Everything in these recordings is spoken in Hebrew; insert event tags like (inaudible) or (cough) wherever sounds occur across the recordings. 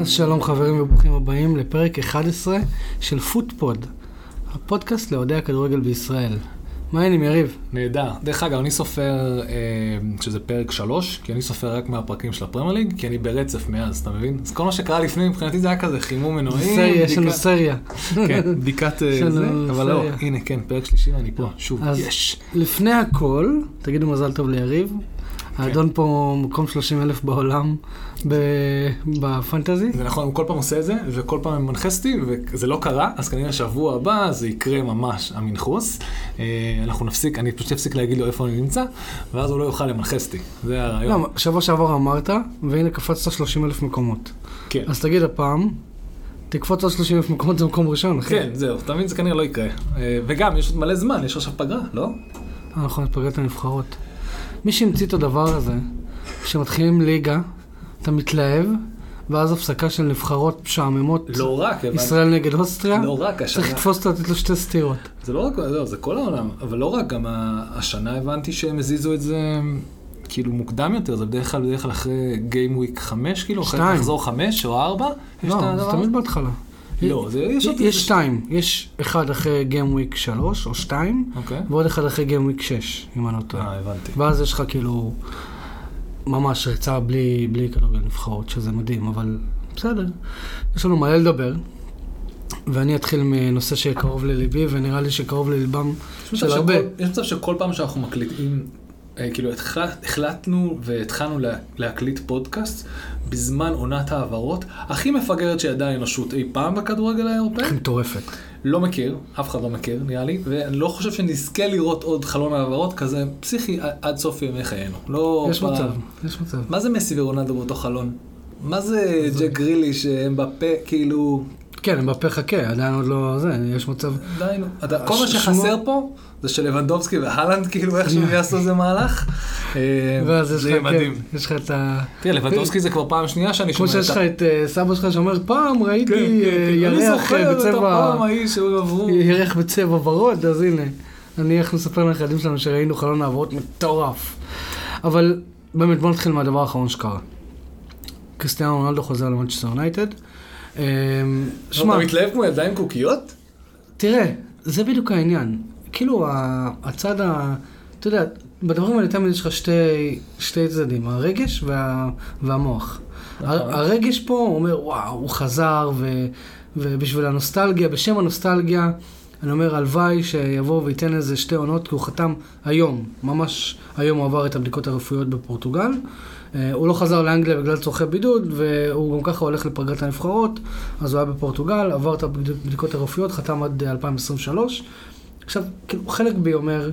אז שלום חברים וברוכים הבאים לפרק 11 של פוטפוד, הפודקאסט לאוהדי הכדורגל בישראל. מה העניינים יריב? נהדר. דרך אגב, אני סופר אה, שזה פרק 3, כי אני סופר רק מהפרקים של הפרמייר ליג, כי אני ברצף מאז, אתה מבין? אז כל מה שקרה לפני, מבחינתי זה היה כזה חימום מנועים. סריה, יש לנו בדיקת- סריה. כן, בדיקת יש אה, לנו זה, אבל לא, סריה. הנה, כן, פרק שלישי ואני פה, שוב, אז יש. לפני הכל, תגידו מזל טוב ליריב. כן. האדון פה מקום 30 אלף בעולם ב- בפנטזי. זה נכון, הוא כל פעם עושה את זה, וכל פעם מנחס אותי, וזה לא קרה, אז כנראה שבוע הבא זה יקרה ממש המנחוס. אה, אנחנו נפסיק, אני פשוט אפסיק להגיד לו איפה אני נמצא, ואז הוא לא יוכל למנחס אותי. זה הרעיון. לא, שבוע שעבר אמרת, והנה קפצת 30 אלף מקומות. כן. אז תגיד הפעם, תקפוץ עוד 30 אלף מקומות זה מקום ראשון, אחי. כן, זהו, אתה מבין? זה כנראה לא יקרה. אה, וגם, יש עוד מלא זמן, יש עכשיו פגרה, לא? אה, נכון, את פגרת הנבחרות. מי שהמציא את הדבר הזה, שמתחילים ליגה, אתה מתלהב, ואז הפסקה של נבחרות משעממות, לא רק, אבל... ישראל נגד אוסטריה, לא רק השנה. צריך לתפוס אותו, לתת לו שתי סטירות. זה לא רק, לא, זה כל העולם, אבל לא רק, גם ה- השנה הבנתי שהם הזיזו את זה כאילו מוקדם יותר, זה בדרך כלל, בדרך כלל אחרי גיימוויק 5, כאילו, אחרי שתיים. מחזור 5 או 4, יש את לא, זה הדבר תמיד הזה? בהתחלה. לא, זה יש עוד יש שתיים, יש אחד אחרי Game Week 3 או 2, אוקיי. ועוד אחד אחרי Game Week 6, אם אני לא טועה. אה, הבנתי. ואז יש לך כאילו ממש ריצה בלי, בלי כדורגל נבחרות, שזה מדהים, אבל בסדר. יש לנו מלא לדבר, ואני אתחיל מנושא שקרוב לליבי, ונראה לי שקרוב לליבם יש מצב של הרבה. שכל- יש מצב שכל פעם שאנחנו מקליטים, אה, כאילו התחל- החלטנו והתחלנו לה- להקליט פודקאסט בזמן עונת העברות הכי מפגרת שידעה האנושות אי פעם (laughs) בכדורגל האירופאי. מטורפת. לא מכיר, אף אחד לא מכיר נראה לי, ואני לא חושב שנזכה לראות עוד חלון העברות כזה פסיכי ע- עד סוף ימי חיינו. לא... יש כבר- מצב, יש מצב. מה זה מסי ורונלדו באותו חלון? מה זה ג'ק גרילי שהם בפה, כאילו... כן, הם בפה חכה, עדיין עוד לא זה, יש מצב. די, נו. אתה- כל מה הש- שחסר שמו- פה זה שלבנדובסקי והלנד כאילו (laughs) איכשהו יעשו איזה מהלך. אה, ואז יש זה לך, יהיה כן, מדהים. יש לך את ה... תראה, לבנדובסקי זה כבר פעם שנייה שאני כמו שומע שיש לך את אה, סבא שלך שאומר, פעם ראיתי כן, כן, אה, כן. אני ירח אה, זוכר את בצבע... אה, הפעם ההיא שהוא עברו. ירח בצבע ורוד, אז הנה. אני איך מספר לנכדים שלנו שראינו חלון העברות מטורף. אבל באמת בוא נתחיל מהדבר האחרון שקרה. קריסטיאנו רונלדו חוזר למנצ'סטר יונייטד. אמ, שמע, אתה מתלהב כמו ילדה עם קוקיות? תראה, זה בדיוק העניין. כאילו ה- הצד ה... אתה יודע, בדברים האלה תמיד יש לך שתי, שתי צדדים, הרגש וה, והמוח. נכון. ה- הרגש פה הוא אומר, וואו, הוא חזר, ו, ובשביל הנוסטלגיה, בשם הנוסטלגיה, אני אומר, הלוואי שיבוא וייתן איזה שתי עונות, כי הוא חתם היום, ממש היום הוא עבר את הבדיקות הרפואיות בפורטוגל. אה, הוא לא חזר לאנגליה בגלל צורכי בידוד, והוא גם ככה הולך לפגרת הנבחרות, אז הוא היה בפורטוגל, עבר את הבדיקות הרפואיות, חתם עד אה, 2023. עכשיו, כאילו, חלק בי אומר,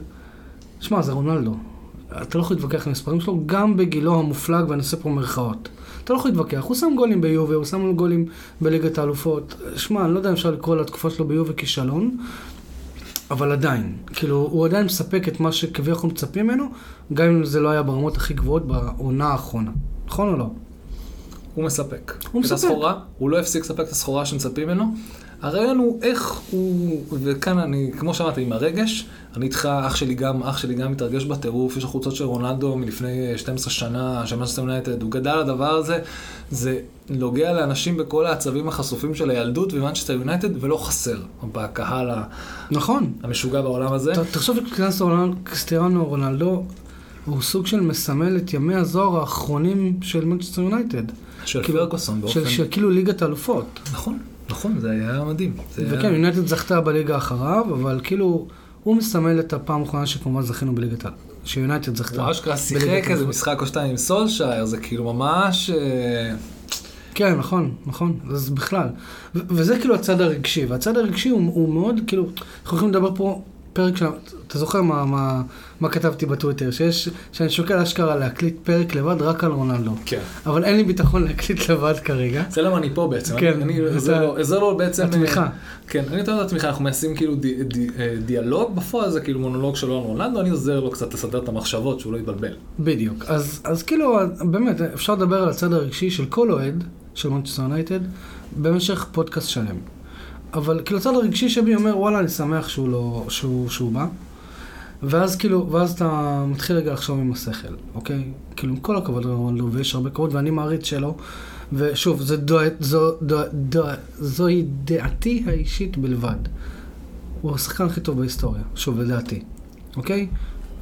שמע, זה רונלדו. אתה לא יכול להתווכח עם המספרים שלו, גם בגילו המופלג, ואני עושה פה מירכאות. אתה לא יכול להתווכח, הוא שם גולים ביובה, הוא שם גולים בליגת האלופות. שמע, אני לא יודע אם אפשר לקרוא לתקופה שלו ביובה כישלון, אבל עדיין, כאילו, הוא עדיין מספק את מה שכביכול מצפים ממנו, גם אם זה לא היה ברמות הכי גבוהות בעונה האחרונה. נכון או לא? הוא מספק. הוא מספק. את הסחורה, הוא לא הפסיק לספק את הסחורה שמצפים ממנו. הרעיון הוא איך הוא, וכאן אני, כמו שאמרתי, עם הרגש, אני איתך, אח שלי גם, אח שלי גם מתרגש בטירוף, יש החולצות של רונלדו מלפני אה, 12 שנה, של מנסטר יונייטד, הוא גדל על הדבר הזה, זה נוגע לאנשים בכל העצבים החשופים של הילדות ומנצ'סטר יונייטד, ולא חסר בקהל ה- נכון. המשוגע בעולם הזה. ת- תחשוב שקריסטיאנו רונלדו הוא סוג של מסמל את ימי הזוהר האחרונים של מנצ'סטר יונייטד. של כאילו- פרגוסון באופן... של של כאילו ליגת האלופות. נכון, נכון, זה היה מדהים. זה היה- וכן, יונייטד זכתה בליגה אחריו, אבל כאילו, הוא מסמל את הפעם האחרונה שכמובן זכינו בליגת ה... שיונייטד זכתה. הוא אשכרה בליגת שיחק איזה האלופות. משחק או שתיים עם סולשייר, זה כאילו ממש... אה, כן, נכון, נכון, אז בכלל. ו- וזה כאילו הצד הרגשי, והצד הרגשי הוא, הוא מאוד, כאילו, אנחנו יכולים לדבר פה פרק שם, אתה זוכר מה, מה, מה כתבתי בטוויטר, שיש, שאני שוקל אשכרה להקליט פרק לבד רק על רונלדו. כן. אבל אין לי ביטחון להקליט לבד כרגע. זה למה אני פה בעצם, כן, אני- אני אתה- עוזר לו- עוזר לו בעצם... אה, התמיכה. כן, אני נותן לו את התמיכה, אנחנו מיישמים כאילו די- די- אה, דיאלוג, בפועל זה כאילו מונולוג שלו על רולנדו, אני עוזר לו קצת לסדר את המחשבות, שהוא לא יתבלבל. בדיוק. אז, אז כאילו, באמת, אפשר לדבר על הצד הרגשי של כל אוהד של מונצ'סטר יונייטד במשך פודקאסט שלם. אבל כאילו, הצד הרגשי שבי אומר, וואלה, אני שמח שהוא לא, שהוא, שהוא בא. ואז כאילו, ואז אתה מתחיל רגע לחשוב עם השכל, אוקיי? כאילו, עם כל הכבוד לרונלדו, ויש הרבה כבוד, ואני מעריץ שלו, ושוב, זה דו, זו, דו, דו, זוהי דעתי האישית בלבד. הוא השחקן הכי טוב בהיסטוריה, שוב, לדעתי, אוקיי?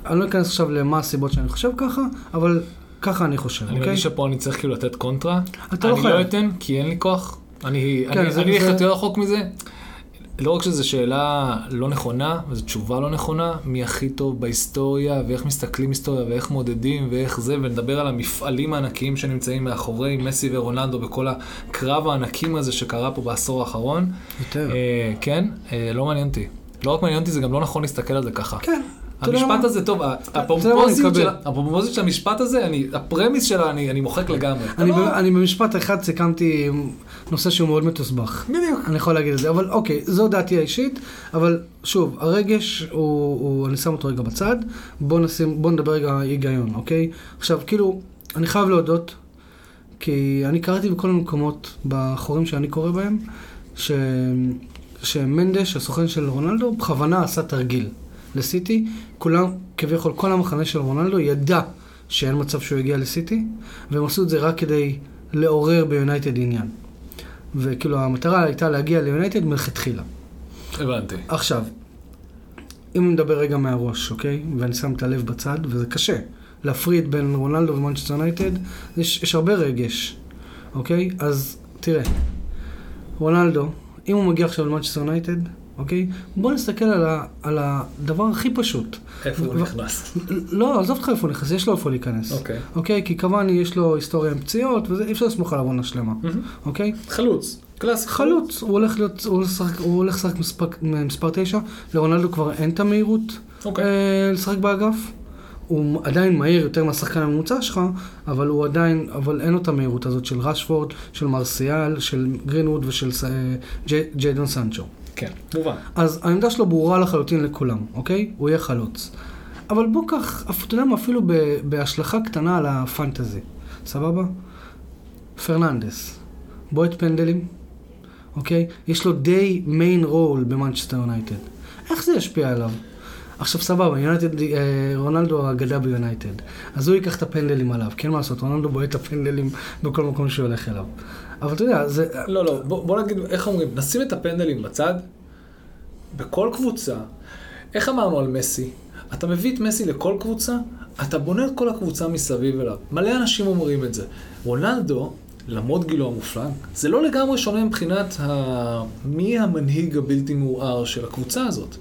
אני לא אכנס עכשיו למה הסיבות שאני חושב ככה, אבל ככה אני חושב, אני אוקיי? מרגיש שפה אני צריך כאילו לתת קונטרה. אתה לא אני חייב. לא אתן, כי אין לי כוח. אני כן, אני- זה- אני אלך זה- יותר רחוק מזה. לא רק שזו שאלה לא נכונה, וזו תשובה לא נכונה, מי הכי טוב בהיסטוריה, ואיך מסתכלים היסטוריה, ואיך מודדים, ואיך זה, ונדבר על המפעלים הענקיים שנמצאים מאחורי מסי ורונלדו, בכל הקרב הענקים הזה שקרה פה בעשור האחרון. יותר. אה, כן, אה, לא מעניין אותי. לא רק מעניין אותי, זה גם לא נכון להסתכל על זה ככה. כן. אתה יודע המשפט מה? הזה טוב, ה- יודע מה, אני הפומפוזיות מקבל. של ה- הפומפוזיות של המשפט הזה, אני- הפרמיס שלה, אני אני מוחק לגמרי. אני, לא, ב, אני במשפט אחד סיכמתי נושא שהוא מאוד מתוסבך. בדיוק. אני יכול להגיד את זה, אבל אוקיי, זו דעתי האישית, אבל שוב, הרגש הוא, הוא אני שם אותו רגע בצד, בוא, נשים, בוא נדבר רגע היגיון, אוקיי? עכשיו, כאילו, אני חייב להודות, כי אני קראתי בכל המקומות, בחורים שאני קורא בהם, ש... שמנדש, הסוכן של רונלדו, בכוונה עשה תרגיל לסיטי. כולם, כביכול, כל המחנה של רונלדו ידע שאין מצב שהוא יגיע לסיטי, והם עשו את זה רק כדי לעורר ביונייטד עניין. וכאילו המטרה הייתה להגיע ליונייטד מלכתחילה. הבנתי. עכשיו, אם נדבר רגע מהראש, אוקיי? ואני שם את הלב בצד, וזה קשה. להפריד בין רונלדו ומנצ'סטר יונייטד, יש, יש הרבה רגש, אוקיי? אז תראה, רונלדו, אם הוא מגיע עכשיו למנצ'סטר יונייטד, אוקיי? בוא נסתכל על, ה, על הדבר הכי פשוט. איפה הוא ו- נכנס? לא, עזוב אותך איפה הוא נכנס, יש לו איפה להיכנס. אוקיי. אוקיי? כי קוואני יש לו היסטוריה עם פציעות, וזה, אי אפשר לסמוך עליו עונה שלמה, אוקיי? חלוץ. קלאס. חלוץ, הוא הולך להיות, הוא הולך לשחק- הוא הולך לשחק מספר- מספר 9, לרונלדו כבר אין את המהירות אוקיי. אה, לשחק באגף. הוא עדיין מהיר יותר מהשחקן הממוצע שלך, אבל הוא עדיין, אבל אין לו את המהירות הזאת של רשפורד, של מרסיאל, של גרינווד ושל ס- אה, ג'י- ג'יידון סנצ'ו. כן, מובן. אז העמדה שלו ברורה לחלוטין לכולם, אוקיי? הוא יהיה חלוץ. אבל בוא קח, אף- אתה יודע מה, אפילו ב, בהשלכה קטנה על הפנטזי, סבבה? פרננדס, בועט פנדלים, אוקיי? יש לו די מיין רול במנצ'סטר יונייטד. איך זה ישפיע עליו? עכשיו סבבה, יונייטד, אה, רונלדו האגדה ביונייטד. אז הוא ייקח את הפנדלים עליו, כי אין מה לעשות, רונלדו בועט את הפנדלים בכל מקום שהוא הולך אליו. אבל אתה יודע, זה... לא, לא, בוא בוא נגיד, איך אומרים, נשים את הפנדלים בצד, בכל קבוצה. איך אמרנו על מסי? אתה מביא את מסי לכל קבוצה, אתה בונה את כל הקבוצה מסביב אליו. מלא אנשים אומרים את זה. רונלדו, למרות גילו המופלג, זה לא לגמרי שונה מבחינת ה... מי המנהיג הבלתי מעורער של הקבוצה הזאת.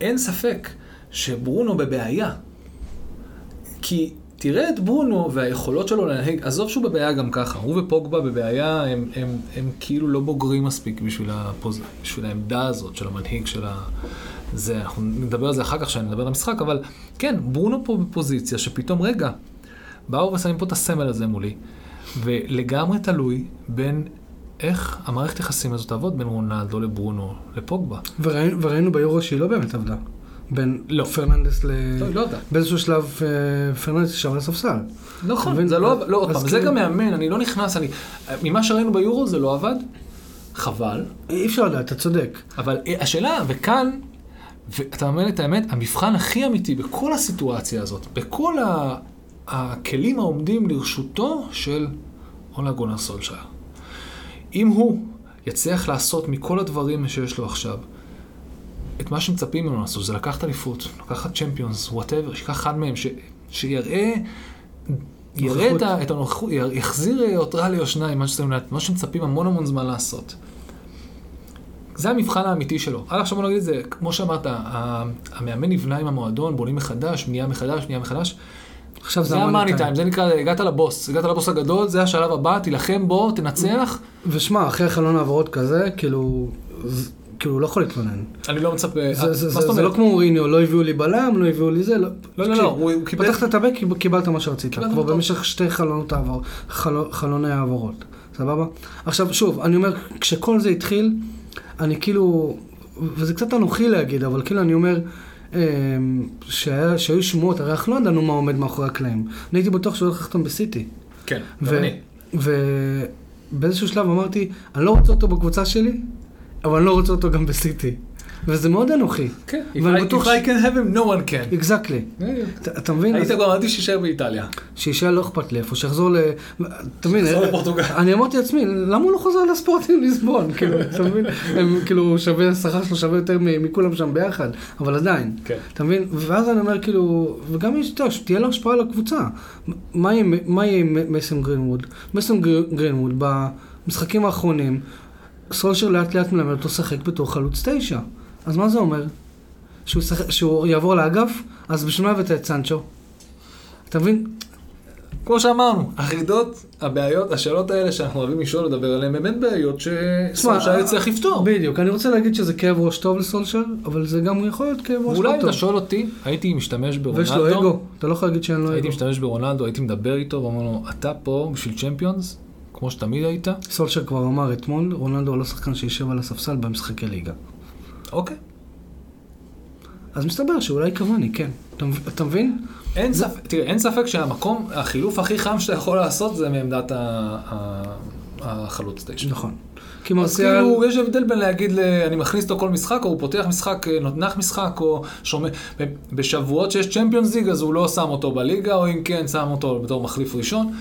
אין ספק שברונו בבעיה. כי תראה את ברונו והיכולות שלו להנהיג, עזוב שהוא בבעיה גם ככה, הוא ופוגבה בבעיה, הם, הם, הם כאילו לא בוגרים מספיק בשביל, הפוז... בשביל העמדה הזאת של המנהיג של ה... זה, אנחנו נדבר על זה אחר כך כשאני נדבר על המשחק, אבל כן, ברונו פה בפוזיציה שפתאום, רגע, באו ושמים פה את הסמל הזה מולי, ולגמרי תלוי בין איך המערכת יחסים הזאת תעבוד בין רונלדו לברונו לפוגבה. וראינו, וראינו ביורו שהיא לא באמת עבדה. בין לא. פרננדס ל... לא, לא יודע. באיזשהו שלב אה, פרננדס ישב על הספסל. אתה נכון, מבין? זה לא, לא, עוד אז פעם, זה כאילו- גם מאמן, אני לא נכנס, אני, ממה שראינו ביורו זה לא עבד, חבל, אי אפשר לדעת, אתה צודק. אבל אה, השאלה, וכאן, ואתה אומר את האמת, המבחן הכי אמיתי בכל הסיטואציה הזאת, בכל ה, הכלים העומדים לרשותו של אולה גונר סולשייר. אם הוא יצליח לעשות מכל הדברים שיש לו עכשיו, את מה שמצפים ממנו לעשות, זה לקחת אליפות, לקחת צ'מפיונס, וואטאבר, שיקח אחד מהם, ש, שיראה, יראה את, ה- את הנוכחות, יר- יחזיר אותה ליושנה עם מנצ'סטר יונייטד, מה שמצפים המון המון זמן לעשות. זה המבחן האמיתי שלו. עד עכשיו בוא נגיד את זה, כמו שאמרת, ה- המאמן נבנה עם המועדון, בונים מחדש, בנייה מחדש, בנייה מחדש. עכשיו זה זה המאני המאני טיים, זה נקרא, הגעת לבוס, הגעת לבוס הגדול, זה השלב הבא, תילחם בו, תנצח. ושמע, אחרי חלון העברות כזה, כאילו... ז- כאילו, הוא לא יכול להתלונן. אני לא מצפה, זה- מה זה- זאת זה- זה אומרת? לא כמו אוריניו, לא הביאו לי בלם, לא הביאו לי זה, לא... לא, לא, תקשיב, לא, הוא הוא קיבל... פתחת את הבק, קיב- קיבלת מה שרצית, קיבלת כבר אותו. במשך שתי חלונות העבר, חלו- חלוני העברות, סבבה? עכשיו, שוב, אני אומר, כשכל זה התחיל, אני כאילו, וזה קצת אנוכי להגיד, אבל כאילו אני אומר, אמ, שהיה- שהיו שמועות, הרי אנחנו לא ידענו מה עומד מאחורי הקלעים. אני הייתי בטוח שהוא הולך לחתום בסיטי. כן, גם ו- אני. ובאיזשהו שלב אמרתי, אני לא רוצה אותו בקבוצה שלי, אבל אני לא רוצה אותו גם בסיטי. וזה מאוד אנוכי. כן, if אבל I- בטוח if I can have him, no one can. אקזקלי. אתה אתה מבין? היית אז כבר מעדיף שיישאר באיטליה. שאישה לא אכפת לאיפה, שיחזור ל... אתה מבין? אה, שיחזור לפורטוגל. אני אמרתי לעצמי, למה הוא לא חוזר לספורטים ליסבון? (laughs) כאילו, אתה מבין? הם כאילו, שווה, השכר שלו שווה יותר מ- מכולם שם ביחד, אבל עדיין. כן. אתה מבין? ואז אני אומר, כאילו, וגם יש, אתה יודע, שתהיה לו השפעה על הקבוצה. מה יהיה- מה יהיה עם מסם גרינווד? מסם גר- גרינווד, במשחקים האחרונים, סולשר לאט לאט מלמד אותו לשחק בתור חלוץ תשע. אז מה זה אומר? שהוא, שח... שהוא יעבור לאגף? אז בשביל מה הבאת את סנצ'ו? אתה מבין? כמו שאמרנו, החידות, הבעיות, השאלות האלה שאנחנו אוהבים לשאול, לדבר עליהן, באמת בעיות שסולשה יצטרך לפתור. אה, בדיוק. אני רוצה להגיד שזה כאב ראש טוב לסולשר, אבל זה גם יכול להיות כאב ראש לא ואולי אם טוב. אתה שואל אותי, הייתי משתמש ויש לו ברונלדו, אגו, אתה לא יכול להגיד שאין לו הייתי אגו. משתמש ברונלדו, הייתי מדבר איתו ואומר לו, אתה פה בשביל צ'מפיונס, כמו שתמיד היית, סולשר כבר אמר אתמול, רונלדו הוא לא שחקן שישב על הספסל במשחקי ליגה. אוקיי. אז מסתבר שאולי קוואני, כן. אתה מב- אתה מבין? אין ספק, תראה, אין ספק שהמקום, החילוף הכי חם שאתה יכול לעשות זה מעמדת ה- ה- החלוץ תשע. נכון. כי אז מרסיאל... כאילו, יש הבדל בין להגיד, ל- אני מכניס אותו כל משחק, או הוא פותח משחק, אה, נותנח משחק, או שומע, ב- בשבועות שיש צ'מפיונס ליג, אז הוא לא שם אותו בליגה, או אם כן, שם אותו בתור מחליף ראשון.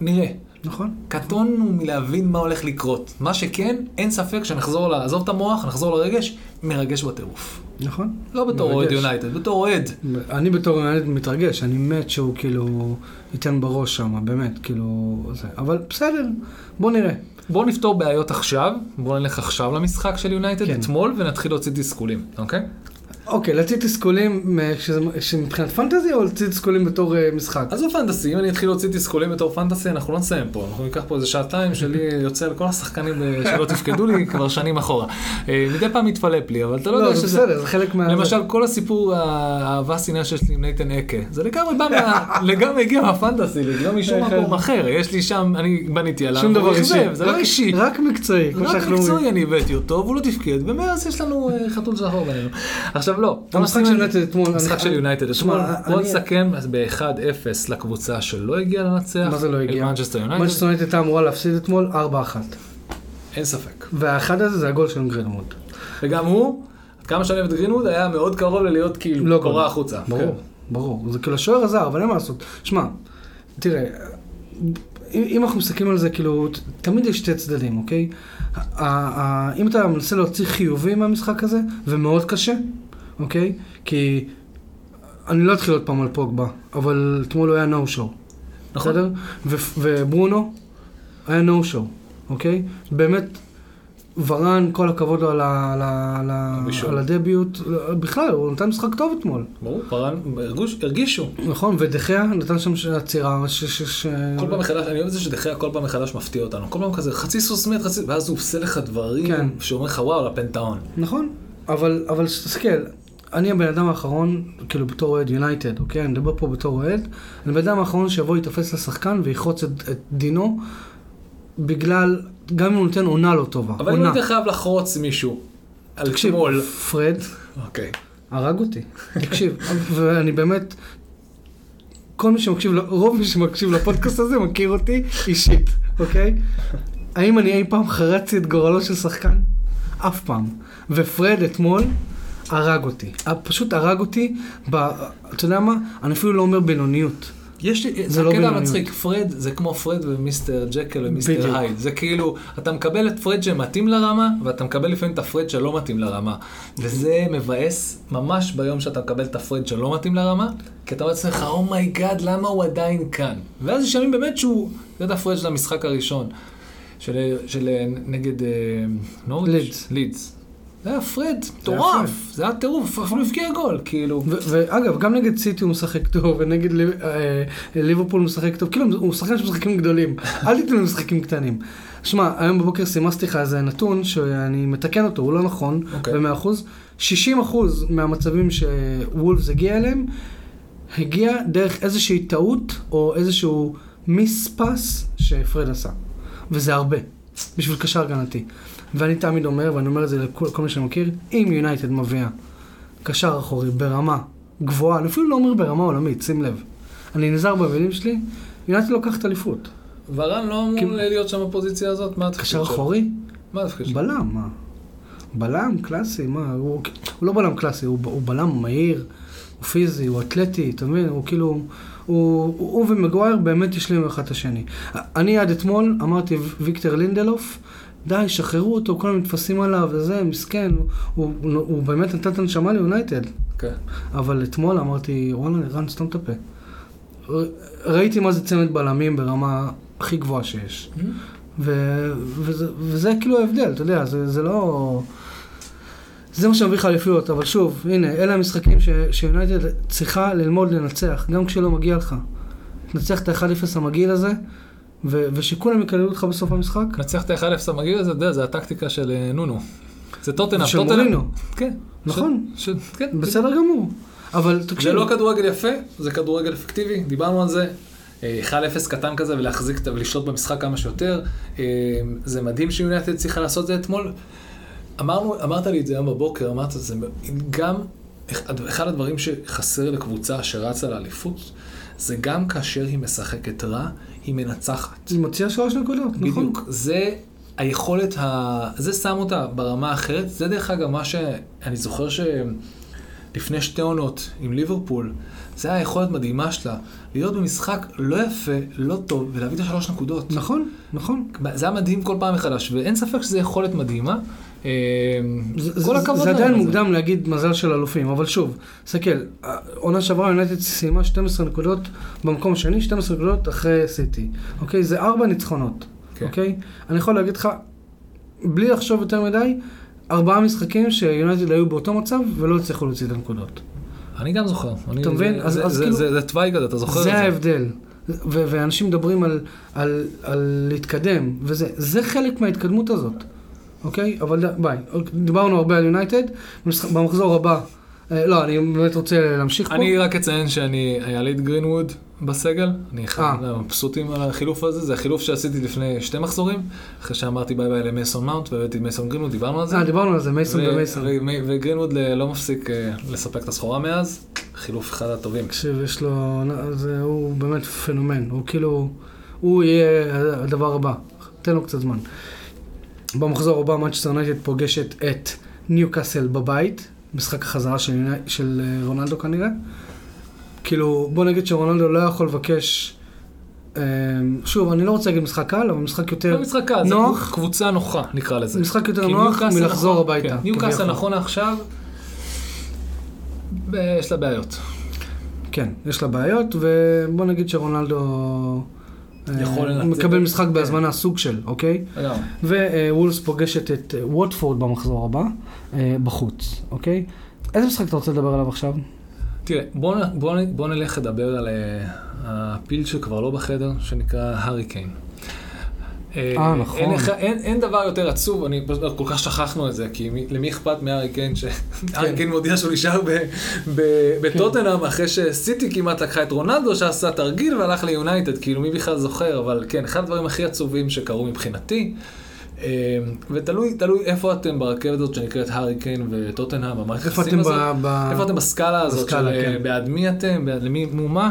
נראה. נכון. קטונו מלהבין מה הולך לקרות. מה שכן, אין ספק שנחזור, לעזוב את המוח, נחזור לרגש, מרגש בטירוף. נכון. לא בתור מרגש. אוהד יונייטד, בתור אוהד. אני בתור ילד מתרגש, אני מת שהוא כאילו ייתן בראש שם, באמת, כאילו... זה. אבל בסדר, בוא נראה. בואו נפתור בעיות עכשיו, בואו נלך עכשיו למשחק של יונייטד כן. אתמול, ונתחיל להוציא תסכולים, אוקיי? אוקיי, להוציא תסכולים אה, שזה- שמבחינת פנטזי, או להוציא תסכולים בתור אה, משחק? עזוב פנטסי, אם אני אתחיל להוציא תסכולים בתור פנטסי, אנחנו לא נסיים פה. אנחנו ניקח פה איזה שעתיים שלי (laughs) יוצא על כל השחקנים אה, שלא תפקדו לי כבר שנים אחורה. אה, מדי פעם מתפלפ לי, אבל אתה לא לא, יודע זה שזה... בסדר, זה חלק מה... למשל, כל הסיפור אה, האהבה שנאה שיש לי עם נייתן אקה, זה לגמרי בא מה... (laughs) לגמרי הגיע מהפנטסי, לי, לא משום כן. מקום אחר. יש לי שם, אני בניתי עליו, שום הוא דבר אישי. אכזב, אוקיי. זה לא רק- אישי. רק מקצועי, כמו רק שאנחנו אומרים. מקצועי אני הבאתי אותו, והוא לא תפקד, ומאז יש לנו אה, חתול שחור בינינו. עכשיו לא, המשחק של יונייטד אתמול... המשחק אני- של יונייטד שמע, אתמול, אני- בוא נסכם אז ב-1-0 לקבוצה שלא הגיעה לנצח. מה זה לא הגיע? את מנצ'סטר מנצ'סטר יונייטד, יונייטד הייתה אמורה להפסיד אתמול 4-1. אין ספק. והאחד הזה זה הגול של גרינמוט. וגם הוא, עד כמה שאני אוהב את גרינווד, היה מאוד קרוב ללהיות לא כאילו גול. קורה החוצה. ברור, ברור. זה כאילו השוער עזר, אבל אין מה לעשות. שמע, תראה, אם אם אנחנו מסתכלים על זה, כאילו, ת- תמיד יש שתי צדדים, אוקיי? ה- ה- ה- אם אתה מנסה להוציא חיובי מהמשחק הזה, ומאוד קשה, אוקיי? כי אני לא אתחיל עוד פעם על פוגבה, אבל אתמול הוא היה נו שואו. נכון. בסדר? ו- וברונו היה נו שואו, אוקיי? באמת, ורן, כל הכבוד לו על, ה- על, ה- על, ה- הבישול. על הדביוט, בכלל, הוא נתן משחק טוב אתמול. ברור, פארן, הרגוש- הרגישו. נכון, ודחיה נתן שם ש- עצירה, ש... ש, ש... כל פעם מחדש, אני אוהב את זה שדחיה כל פעם מחדש מפתיע אותנו. כל פעם כזה חצי סוס מת, חצי, ואז הוא עושה לך כן. דברים שאומר לך וואו, לפנתאון. נכון, אבל, אבל תסתכל, אני הבן אדם האחרון, כאילו בתור אוהד יונייטד, אוקיי? אני מדבר פה בתור אוהד, אני הבן אדם האחרון שיבוא יתפס לשחקן ויחרוץ את, את דינו, בגלל, גם אם הוא נותן עונה לא טובה. אבל אם עונה. היית חייב לחרוץ מישהו, על תקשיב, שמאל. פרד אוקיי. הרג אותי, תקשיב, ואני באמת, כל מי שמקשיב, ל- רוב מי שמקשיב לפודקאסט הזה מכיר אותי אישית, אוקיי? האם אני אי פעם חרצתי את גורלו של שחקן? אף פעם. ופרד אתמול הרג אותי, פשוט הרג אותי, ב... אתה יודע מה? אני אפילו לא אומר בינוניות. יש לי, זה זה לא לא הקטע בינוניות. המצחיק, פרד זה כמו פרד ומיסטר ג'קל בדיוק. ומיסטר הייד. זה כאילו, אתה מקבל את פרד שמתאים לרמה, ואתה מקבל לפעמים את הפרד שלא מתאים לרמה. וזה מבאס ממש ביום שאתה מקבל את הפרד שלא מתאים לרמה, כי אתה אומר לעצמך, אומייגאד, למה הוא עדיין כאן? ואז יש ימים באמת שהוא, זה את הפרד של המשחק הראשון, של, של אה, נגד אה, נוריץ', לידס. לידס. זה היה פרד, מטורף, זה היה טירוף, אפילו הבקיע גול, כאילו. ו- ואגב, גם נגד סיטי הוא משחק טוב, ונגד ליב- אה, ליברפול הוא משחק טוב, כאילו הוא שחקן של משחקים גדולים, אל תיתנו לו משחקים קטנים. שמע, היום בבוקר סימסתי לך איזה נתון שאני מתקן אותו, הוא לא נכון, אוקיי. במאה אחוז. 60 אחוז מהמצבים שוולפס הגיע אליהם, הגיע דרך איזושהי טעות, או איזשהו מיספס שפרד עשה. וזה הרבה, בשביל קשר הגנתי. ואני תמיד אומר, ואני אומר את זה לכל כל מי שאני מכיר, אם יונייטד מביאה קשר אחורי ברמה גבוהה, אני אפילו לא אומר ברמה עולמית, שים לב. אני נזהר במילים שלי, יונייטד לוקחת אליפות. ורן לא כי- אמור להיות שם בפוזיציה הזאת, מה התפקיד כאילו- קשר שלו? אחורי? מה התפקיד שלו? בלם, מה? בלם קלאסי, מה, הוא, הוא לא בלם קלאסי, הוא, הוא בלם מהיר, הוא פיזי, הוא אתלטי, אתה מבין? הוא כאילו, הוא, הוא, הוא ומגווייר באמת השלימו אחד את השני. אני עד אתמול אמרתי ויקטור לינדלוף, די, שחררו אותו, כולם נתפסים עליו, וזה, מסכן, הוא, הוא, הוא באמת נתן את הנשמה ליונייטד. כן. אבל אתמול אמרתי, וואלה, רן, סתום את הפה. ר- ראיתי מה זה צמד בלמים ברמה הכי גבוהה שיש. ו- וזה, וזה כאילו ההבדל, אתה יודע, זה, זה לא... זה מה שמביא לך אליפויות, אבל שוב, הנה, אלה המשחקים ש- שיונייטד צריכה ללמוד לנצח, גם כשלא מגיע לך. תנצח את ה-1-0 המגעיל הזה, ו- ושכולם יקללו אותך בסוף המשחק. נצח את ה-1-0 המגעיל הזה, אתה יודע, זה הטקטיקה של אה, נונו. זה טוטנאם, של טוטנאם. מורינו. כן. נכון. ש- ש- כן. בסדר גמור. אבל תקשיב, זה לא כדורגל יפה, זה כדורגל אפקטיבי, דיברנו על זה. אה, 1-0 קטן כזה ולהחזיק את- ולשלוט במשחק כמה שיותר. אה, זה מדהים שיונייטד צריכה לעשות את זה אתמול. אמרנו, אמרת לי את זה היום בבוקר, אמרת זה גם, אחד הדברים שחסר לקבוצה שרצה לאליפות, זה גם כאשר היא משחקת רע, היא מנצחת. היא מוציאה שלוש נקודות, נכון? בדיוק. זה היכולת, ה... זה שם אותה ברמה האחרת. זה דרך אגב מה שאני זוכר שלפני שתי עונות עם ליברפול, זה היה היכולת מדהימה שלה, להיות במשחק לא יפה, לא טוב, ולהביא את השלוש נקודות. נכון, נכון. זה היה מדהים כל פעם מחדש, ואין ספק שזו יכולת מדהימה. אה, זה- כל זה- הכבוד זה להם עדיין על מוקדם להגיד מזל של אלופים, אבל שוב, תסתכל, עונה שעברה יונטד סיימה 12 נקודות במקום השני, 12 נקודות אחרי סיטי, אוקיי? זה ארבע ניצחונות, כן. אוקיי? אני יכול להגיד לך, בלי לחשוב יותר מדי, ארבעה משחקים שיונטד היו באותו מצב ולא הצליחו להוציא את הנקודות. אני גם זוכר. אני- אתה מבין? זה- אז- זה- אז זה- כאילו- זה זה תוואי כזה, אתה זוכר את זה זה. ההבדל. ו- ואנשים מדברים על, על, על להתקדם, וזה זה חלק מההתקדמות הזאת, אוקיי? אבל ד- ביי, דיברנו הרבה על יונייטד, במשח- במחזור הבא, אה, לא, אני באמת רוצה להמשיך פה. אני רק אציין שאני היה לי את גרינווד בסגל, אני אחד אה. מהמבסוטים על החילוף הזה, זה החילוף שעשיתי לפני שתי מחזורים, אחרי שאמרתי ביי ביי למייסון מאונט והבאתי את מייסון גרינווד, דיברנו על זה. אה, דיברנו על זה, מייסון ו- ומייסון. ו- מי- וגרינווד ל- לא מפסיק אה, לספק את הסחורה מאז, חילוף אחד הטובים. תקשיב, יש לו, זה, הוא באמת פנומן, הוא כאילו, הוא יהיה הדבר הבא, תן לו קצת זמן. במחזור הבא מנצ'סטר יונייטד פוגשת את ניוקאסל בבית, משחק החזרה של, יוני- של אה, רונלדו כנראה. כאילו, בוא נגיד שרונלדו לא יכול לבקש, אה, שוב, אני לא רוצה להגיד משחק קל, אבל משחק לא יותר, משחק קל, זה אה, נוח. קבוצה נוחה נקרא לזה. משחק יותר כי נוח ניוקאסל מלחזור נכון- הביתה. כן, ניוקאסל כביכול. נכון עכשיו, ב- יש לה בעיות. כן, יש לה בעיות, ובוא נגיד שרונלדו אה, יכול לנצל. מקבל משחק בהזמנה סוג של, אוקיי? לגמרי. ווולס פוגשת את אה, ווטפורד במחזור הבא, אה, בחוץ, אוקיי? איזה משחק אתה רוצה לדבר עליו עכשיו? תראה, בוא, נ- בוא, נ- בוא נלך לדבר על אה, הפיל שכבר לא בחדר, שנקרא האריקיין. אה, נכון. אין, לך- אין, אין דבר יותר עצוב, אני פשוט כל כך שכחנו את זה, כי מי, למי אכפת מהאריקיין, (laughs) כן. שהאריקיין מודיע שהוא נשאר ב, ב, בטוטנאם, אחרי שסיטי כמעט לקחה את רונלדו, שעשה תרגיל והלך ליונייטד, כאילו מי בכלל זוכר, אבל כן, אחד הדברים הכי עצובים שקרו מבחינתי, אה, ותלוי תלוי איפה אתם ברכבת הזאת שנקראת האריקיין וטוטנאם, המערכת איפה אתם היחסים הזאת. ב- ב- איפה אתם בסקאלה הזאת בסקאלה, של כן. כן. בעד מי אתם, בעד למי מומה.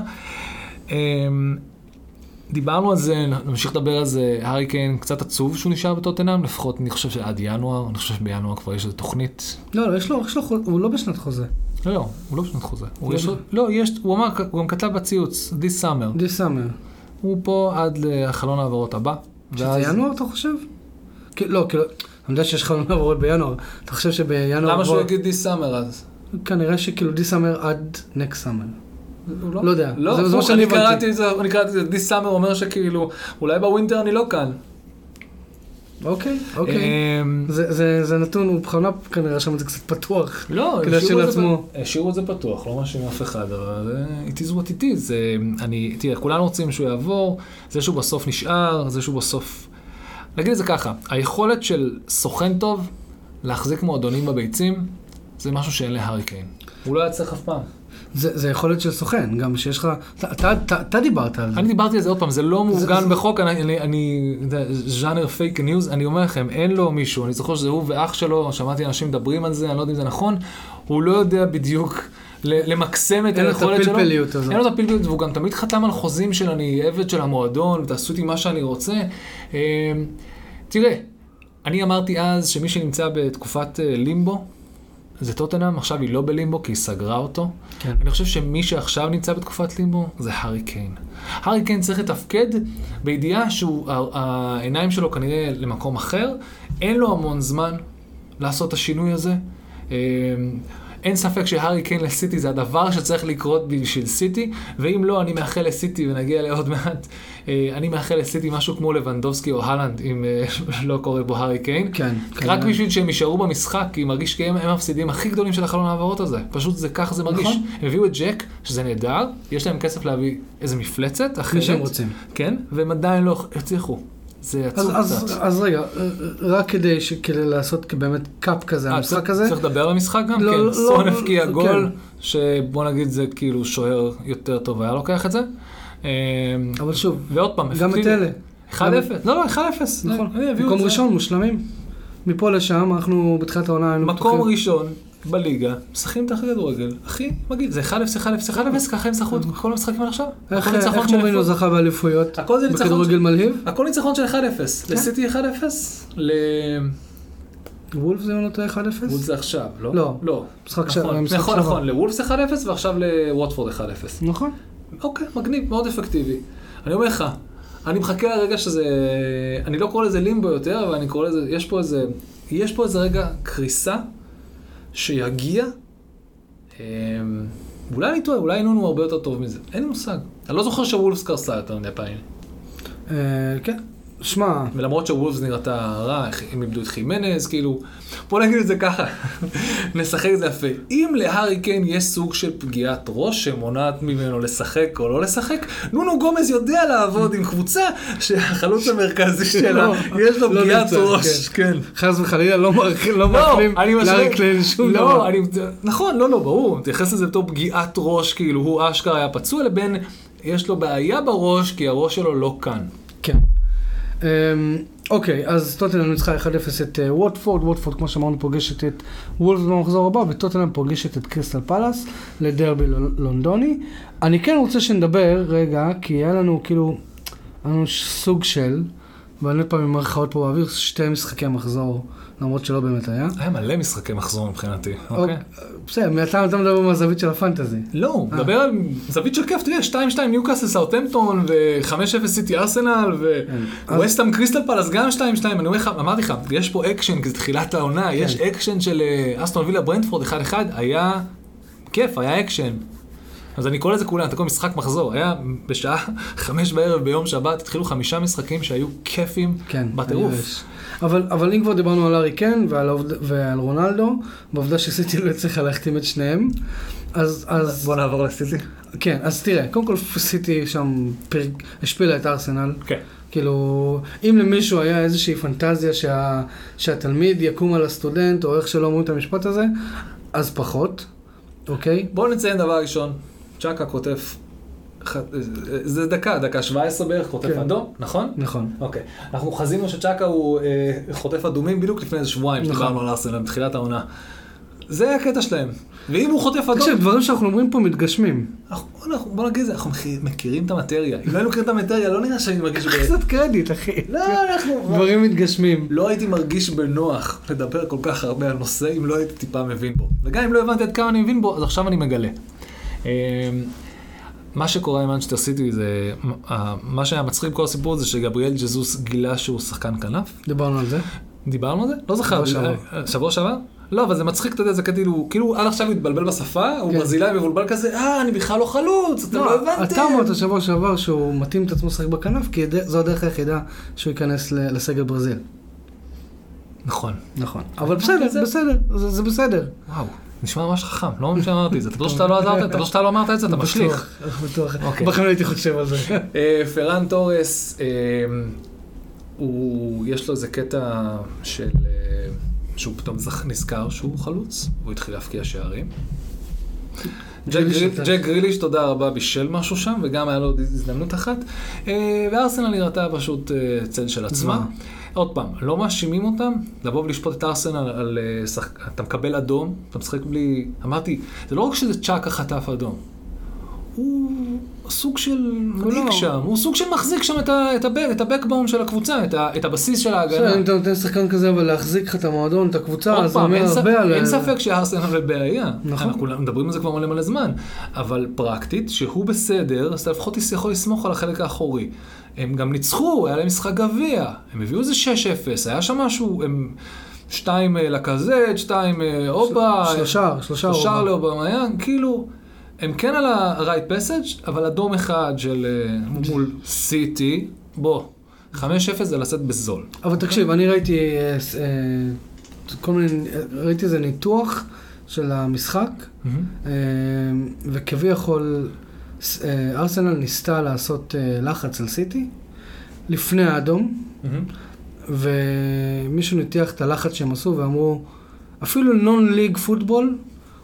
דיברנו על זה, נמשיך לדבר על זה, הארי קיין קצת עצוב שהוא נשאר בטוטנאם, לפחות אני חושב שעד ינואר, אני חושב שבינואר כבר יש איזו תוכנית. לא, לא, יש לו, יש לו, חו- הוא לא בשנת חוזה. לא, לא, הוא לא בשנת חוזה. הוא לא יש, לו- לא, יש, הוא אמר, הוא גם כתב בציוץ, this summer. די סאמר. הוא פה עד לחלון ההעברות הבא. שזה ואז- ינואר, אתה חושב? כי- לא, כאילו, אני יודע שיש לך עונה עבורות בינואר. אתה חושב שבינואר... למה שהוא כבר- יגיד this summer אז? כנראה שכאילו די סאמר עד נקסט סאמר. הוא לא יודע, לא, זה- זה מה הפוך, שאני אני הבנתי. קראתי את זה, אני קראתי את זה, this summer אומר שכאילו, אולי בווינטר אני לא כאן. אוקיי, אוקיי. אמ, זה- זה זה נתון, הוא בכוונה כנראה שם את זה קצת פתוח. לא, כדי השאירו את זה לעצמו. פ- השאירו את זה פתוח, לא מאשים אף אחד, אבל אה, it is what it is. אה, אני, תראה, כולנו רוצים שהוא יעבור, זה שהוא בסוף נשאר, זה שהוא בסוף... נגיד את זה ככה, היכולת של סוכן טוב להחזיק מועדונים בביצים, זה משהו שאין להארי קיין. הוא לא היה צריך אף פעם. זה זה יכולת של סוכן, גם שיש לך... אתה- אתה- אתה- אתה דיברת על זה. אני דיברתי על זה עוד פעם, זה לא זה- מעוגן בחוק, אני- אני- אני, זה ז'אנר פייק ניוז, אני אומר לכם, אין לו מישהו, אני זוכר שזה הוא ואח שלו, שמעתי אנשים מדברים על זה, אני לא יודע אם זה נכון, הוא לא יודע בדיוק ל- למקסם את אין לו את היכולת שלו. הפלפליות הזאת. אין לו את הפלפליות, והוא גם תמיד חתם על חוזים של אני עבד של המועדון, ותעשו איתי מה שאני רוצה. אה, אמ, תראה, אני אמרתי אז שמי שנמצא בתקופת אה, לימבו, זה טוטנאם, עכשיו היא לא בלימבו כי היא סגרה אותו. כן. אני חושב שמי שעכשיו נמצא בתקופת לימבו זה הארי קיין. הארי קיין צריך לתפקד בידיעה שהעיניים שלו כנראה למקום אחר, אין לו המון זמן לעשות את השינוי הזה. אה, אין ספק שהארי קיין לסיטי זה הדבר שצריך לקרות בשביל סיטי, ואם לא, אני מאחל לסיטי, ונגיע אליה עוד מעט, אה, אני מאחל לסיטי משהו כמו לבנדובסקי או הלנד, אם אה, (laughs) לא קורה בו הארי קיין. כן, רק כנראה. בשביל שהם יישארו במשחק, כי מרגיש כאילו הם המפסידים הכי גדולים של החלון ההעברות הזה. פשוט זה כך זה מרגיש. נכון. הם הביאו את ג'ק, שזה נהדר, יש להם כסף להביא איזה מפלצת אחרת. מי שהם רוצים. כן, והם עדיין לא הצליחו. זה עצוב אז, קצת. אז, אז רגע, אה, רק כדי ש- כדי לעשות באמת קאפ כזה, אה, המשחק צריך- הזה, צריך לדבר על המשחק גם? לא, כן. לא, סון לא, הפקיע כן. גול, שבוא נגיד זה כאילו שוער יותר טוב היה לוקח את זה. אה, אבל שוב, ועוד פעם, גם את אפקטיבי. אלה, 1-0, לא, לא, 1-0, נכון, אה, הביאו מקום את זה. ראשון, מושלמים. מפה לשם, אנחנו בתחילת העונה היינו מקום ראשון בליגה, משחקים את הכדורגל, הכי מגעיל, זה 1-0, 1-0, 1-0, ככה הם שחקו את כל המשחקים עד עכשיו? איך, הכל ניצחון איך של מורינו אפס. זכה באליפויות? הכל זה ניצחון בכדורגל כן. מלהיב? הכל ניצחון של 1-0, לסיטי 1-0, ל... וולף זה אם אני לא טועה 1-0? וולף זה עכשיו, לא? לא. לא. משחק נכון, שעבר, המשחק נכון, שעבר. נכון, לוולפס 1-0 ועכשיו לווטפורד 1-0. נכון. אוקיי, מגניב, מאוד אפקטיבי. אני אומר לך, אני מחכה לרגע שזה... אני לא קורא לזה לימבו יותר, אבל אני קורא לזה... יש פה איזה... יש פה איזה רגע קריסה שיגיע. אמ, ואולי אני טועה, אולי נון הוא הרבה יותר טוב מזה. אין לי מושג. אני לא זוכר שוולפס קרסה יותר מדי פעמים. אה, כן. שמע, ולמרות שוולפס נראתה רע, הם איבדו את חימנז, כאילו, בוא נגיד את זה ככה, (laughs) נשחק את זה יפה. אם להארי קיין יש סוג של פגיעת ראש שמונעת ממנו לשחק או לא לשחק, נונו גומז יודע לעבוד עם קבוצה (laughs) שהחלוץ המרכזי שלה, לא, יש לו לא פגיעת נמצא, ראש, כן. חס וחלילה לא מאחלים- לא לא, מאחלים אני משווה- לאריק קליין שום לא, דבר. אני- נכון, לא, לא, ברור, מתייחס לזה בתור פגיעת ראש, כאילו, הוא אשכרה היה פצוע, לבין יש לו בעיה בראש, כי הראש שלו לא כאן. כן. אמ, אוקיי, אז טוטנאם ניצחה 1-0 את אה, ווטפורד, ווטפורד כמו שאמרנו פוגשת את וולפס במחזור הבא, וטוטנאם פוגשת את קריסטל פלאס לדרבי ל- לונדוני. אני כן רוצה שנדבר רגע, כי היה לנו כאילו, היה לנו ש- סוג של, ואני עוד פעם עם מירכאות פה באוויר, שתי משחקי מחזור, למרות שלא באמת היה. היה מלא משחקי מחזור מבחינתי, אוקיי? אוקיי, בסדר, אתה אתה מדבר מהזווית של הפנטזי. לא, דבר על זווית של כיף, תראה, 2-2 ניוקאסל סאוטמפטון ו-5-0 סיטי ארסנל אז- וווסטאם קריסטל פלס גם 2-2, אני אומר לך, אמרתי לך, יש פה אקשן, כי זה תחילת העונה, יש אקשן של אה, אסטון וילה ברנדפורד 1-1, היה כיף, היה אקשן. אז אני קורא לזה כולם, אתה קורא משחק מחזור, היה בשעה (laughs) חמש בערב ביום שבת, התחילו חמישה משחקים שהיו כיפים כן, אני בטירוף. ממש. אבל, אבל אם כבר דיברנו על ארי קן ועל, העובד- ועל רונלדו, בעובדה שסיטי לא הצליחה להחתים את שניהם, אז, אז, בוא נעבור לסיטי. כן, אז תראה, קודם כל סיטי שם פר... השפילה את ארסנל. כן. כאילו, אם למישהו היה איזושהי פנטזיה שה... שהתלמיד יקום על הסטודנט, או איך שלא אומרים את המשפט הזה, אז פחות, אוקיי? בואו נציין דבר ראשון, צ'אקה כותף, ח- זה דקה, דקה 17 בערך, חוטף כן. אדום, נכון? נכון. אוקיי. אנחנו חזינו שצ'אקה הוא אה, חוטף אדומים בדיוק לפני איזה שבועיים, נכון. שדיברנו על ארסנל בתחילת העונה. זה הקטע שלהם. ואם הוא חוטף אדום, תקשיב, דברים שאנחנו אומרים פה מתגשמים. אנחנו- אנחנו- בוא נגיד את זה, אנחנו מכי- מכירים את המטריה. אם לא היינו מכירים את המטריה, לא נראה שאני מרגיש... ב- קצת קרדיט, אחי. לא, אנחנו... דברים מתגשמים. לא הייתי מרגיש בנוח לדבר כל כך הרבה על נושא אם לא הייתי טיפה מבין בו. וגם אם לא הבנתי עד כמה אני מבין בו, אז עכשיו אני מגלה. אמ, מה שקורה עם מנצ'טר סיטי זה, אה, מה שהיה מצחיק כל הסיפור הזה שגבריאל ג'זוס גילה שהוא שחקן כנף. דיברנו על זה. דיברנו על זה? לא זכר. שבוע שעבר. אה, שבוע שעבר? לא, אבל זה מצחיק, אתה יודע, זה כאילו, כאילו עד עכשיו הוא התבלבל בשפה, הוא כן. ברזילאי מבולבל כזה, אה, אני בכלל לא חלוץ, אתם לא לא, הבנתם. אתה אמרת שבוע שעבר שהוא מתאים את עצמו לשחק בכנף, כי ד- זו הדרך היחידה שהוא ייכנס ל- לסגל ברזיל. נכון. אוקיי, נכון. אבל זה- בסדר, בסדר, זה זה בסדר. וואו, נשמע ממש חכם, לא מאמין שאמרתי את זה. אתה בטוח שאתה לא עזרת, אתה בטוח שאתה לא אמרת את זה, אתה משליך. בטוח, בטוח. אוקיי. בחיים לא הייתי חושב על זה. אה, פרן תורס, אה, הוא, יש לו איזה קטע של... אה, שהוא פתאום זכ- נזכר שהוא חלוץ, והוא התחיל להפקיע שערים. ג'ק גריליש גריל- נתן. ג'ק גריליש, תודה רבה, בישל משהו שם, וגם היה לו עוד הזדמנות אחת. אה, וארסנל נראתה פשוט אה, צל של עצמה. מה? עוד פעם, לא מאשימים אותם, לבוא ולשפוט את ארסנל על... אה, שחק- אתה מקבל אדום, אתה משחק בלי... אמרתי, זה לא רק שזה צ'אקה חטף אדום. הוא סוג של... מנהיג לא. שם, הוא סוג של מחזיק שם את, ה, את, הבק, את הבקבון של הקבוצה, את, ה, את הבסיס של ההגנה. בסדר, אם אתה נותן לשחקן כזה אבל להחזיק לך את המועדון, את הקבוצה, עוד אז זה פעם, אומר אין, ספ... הרבה על... אין ספק שארסנל בבעיה. נכון. אנחנו כולם מדברים על זה כבר מלא מלא זמן. אבל פרקטית, שהוא בסדר, אז אתה לפחות יכול לסמוך על החלק האחורי. הם גם ניצחו, היה להם משחק גביע. הם הביאו איזה 6-0, היה שם משהו, הם... שתיים אה, לקזט, שתיים אה, אובה. שלושה, שלושה שלושה אובה. לאובמיאן, כאילו, הם כן על ה-right passage, אבל אדום אחד של אה, מול סיטי, בוא, 5-0 זה לצאת בזול. אבל תקשיב, אני ראיתי אה, ס- אה, כל מיני, אה, ראיתי איזה ניתוח של המשחק, אה, וכביכול ס- אה, ארסנל ניסתה לעשות אה, לחץ על סיטי לפני האדום, ומישהו ניתח את הלחץ שהם עשו ואמרו, אפילו נון ליג פוטבול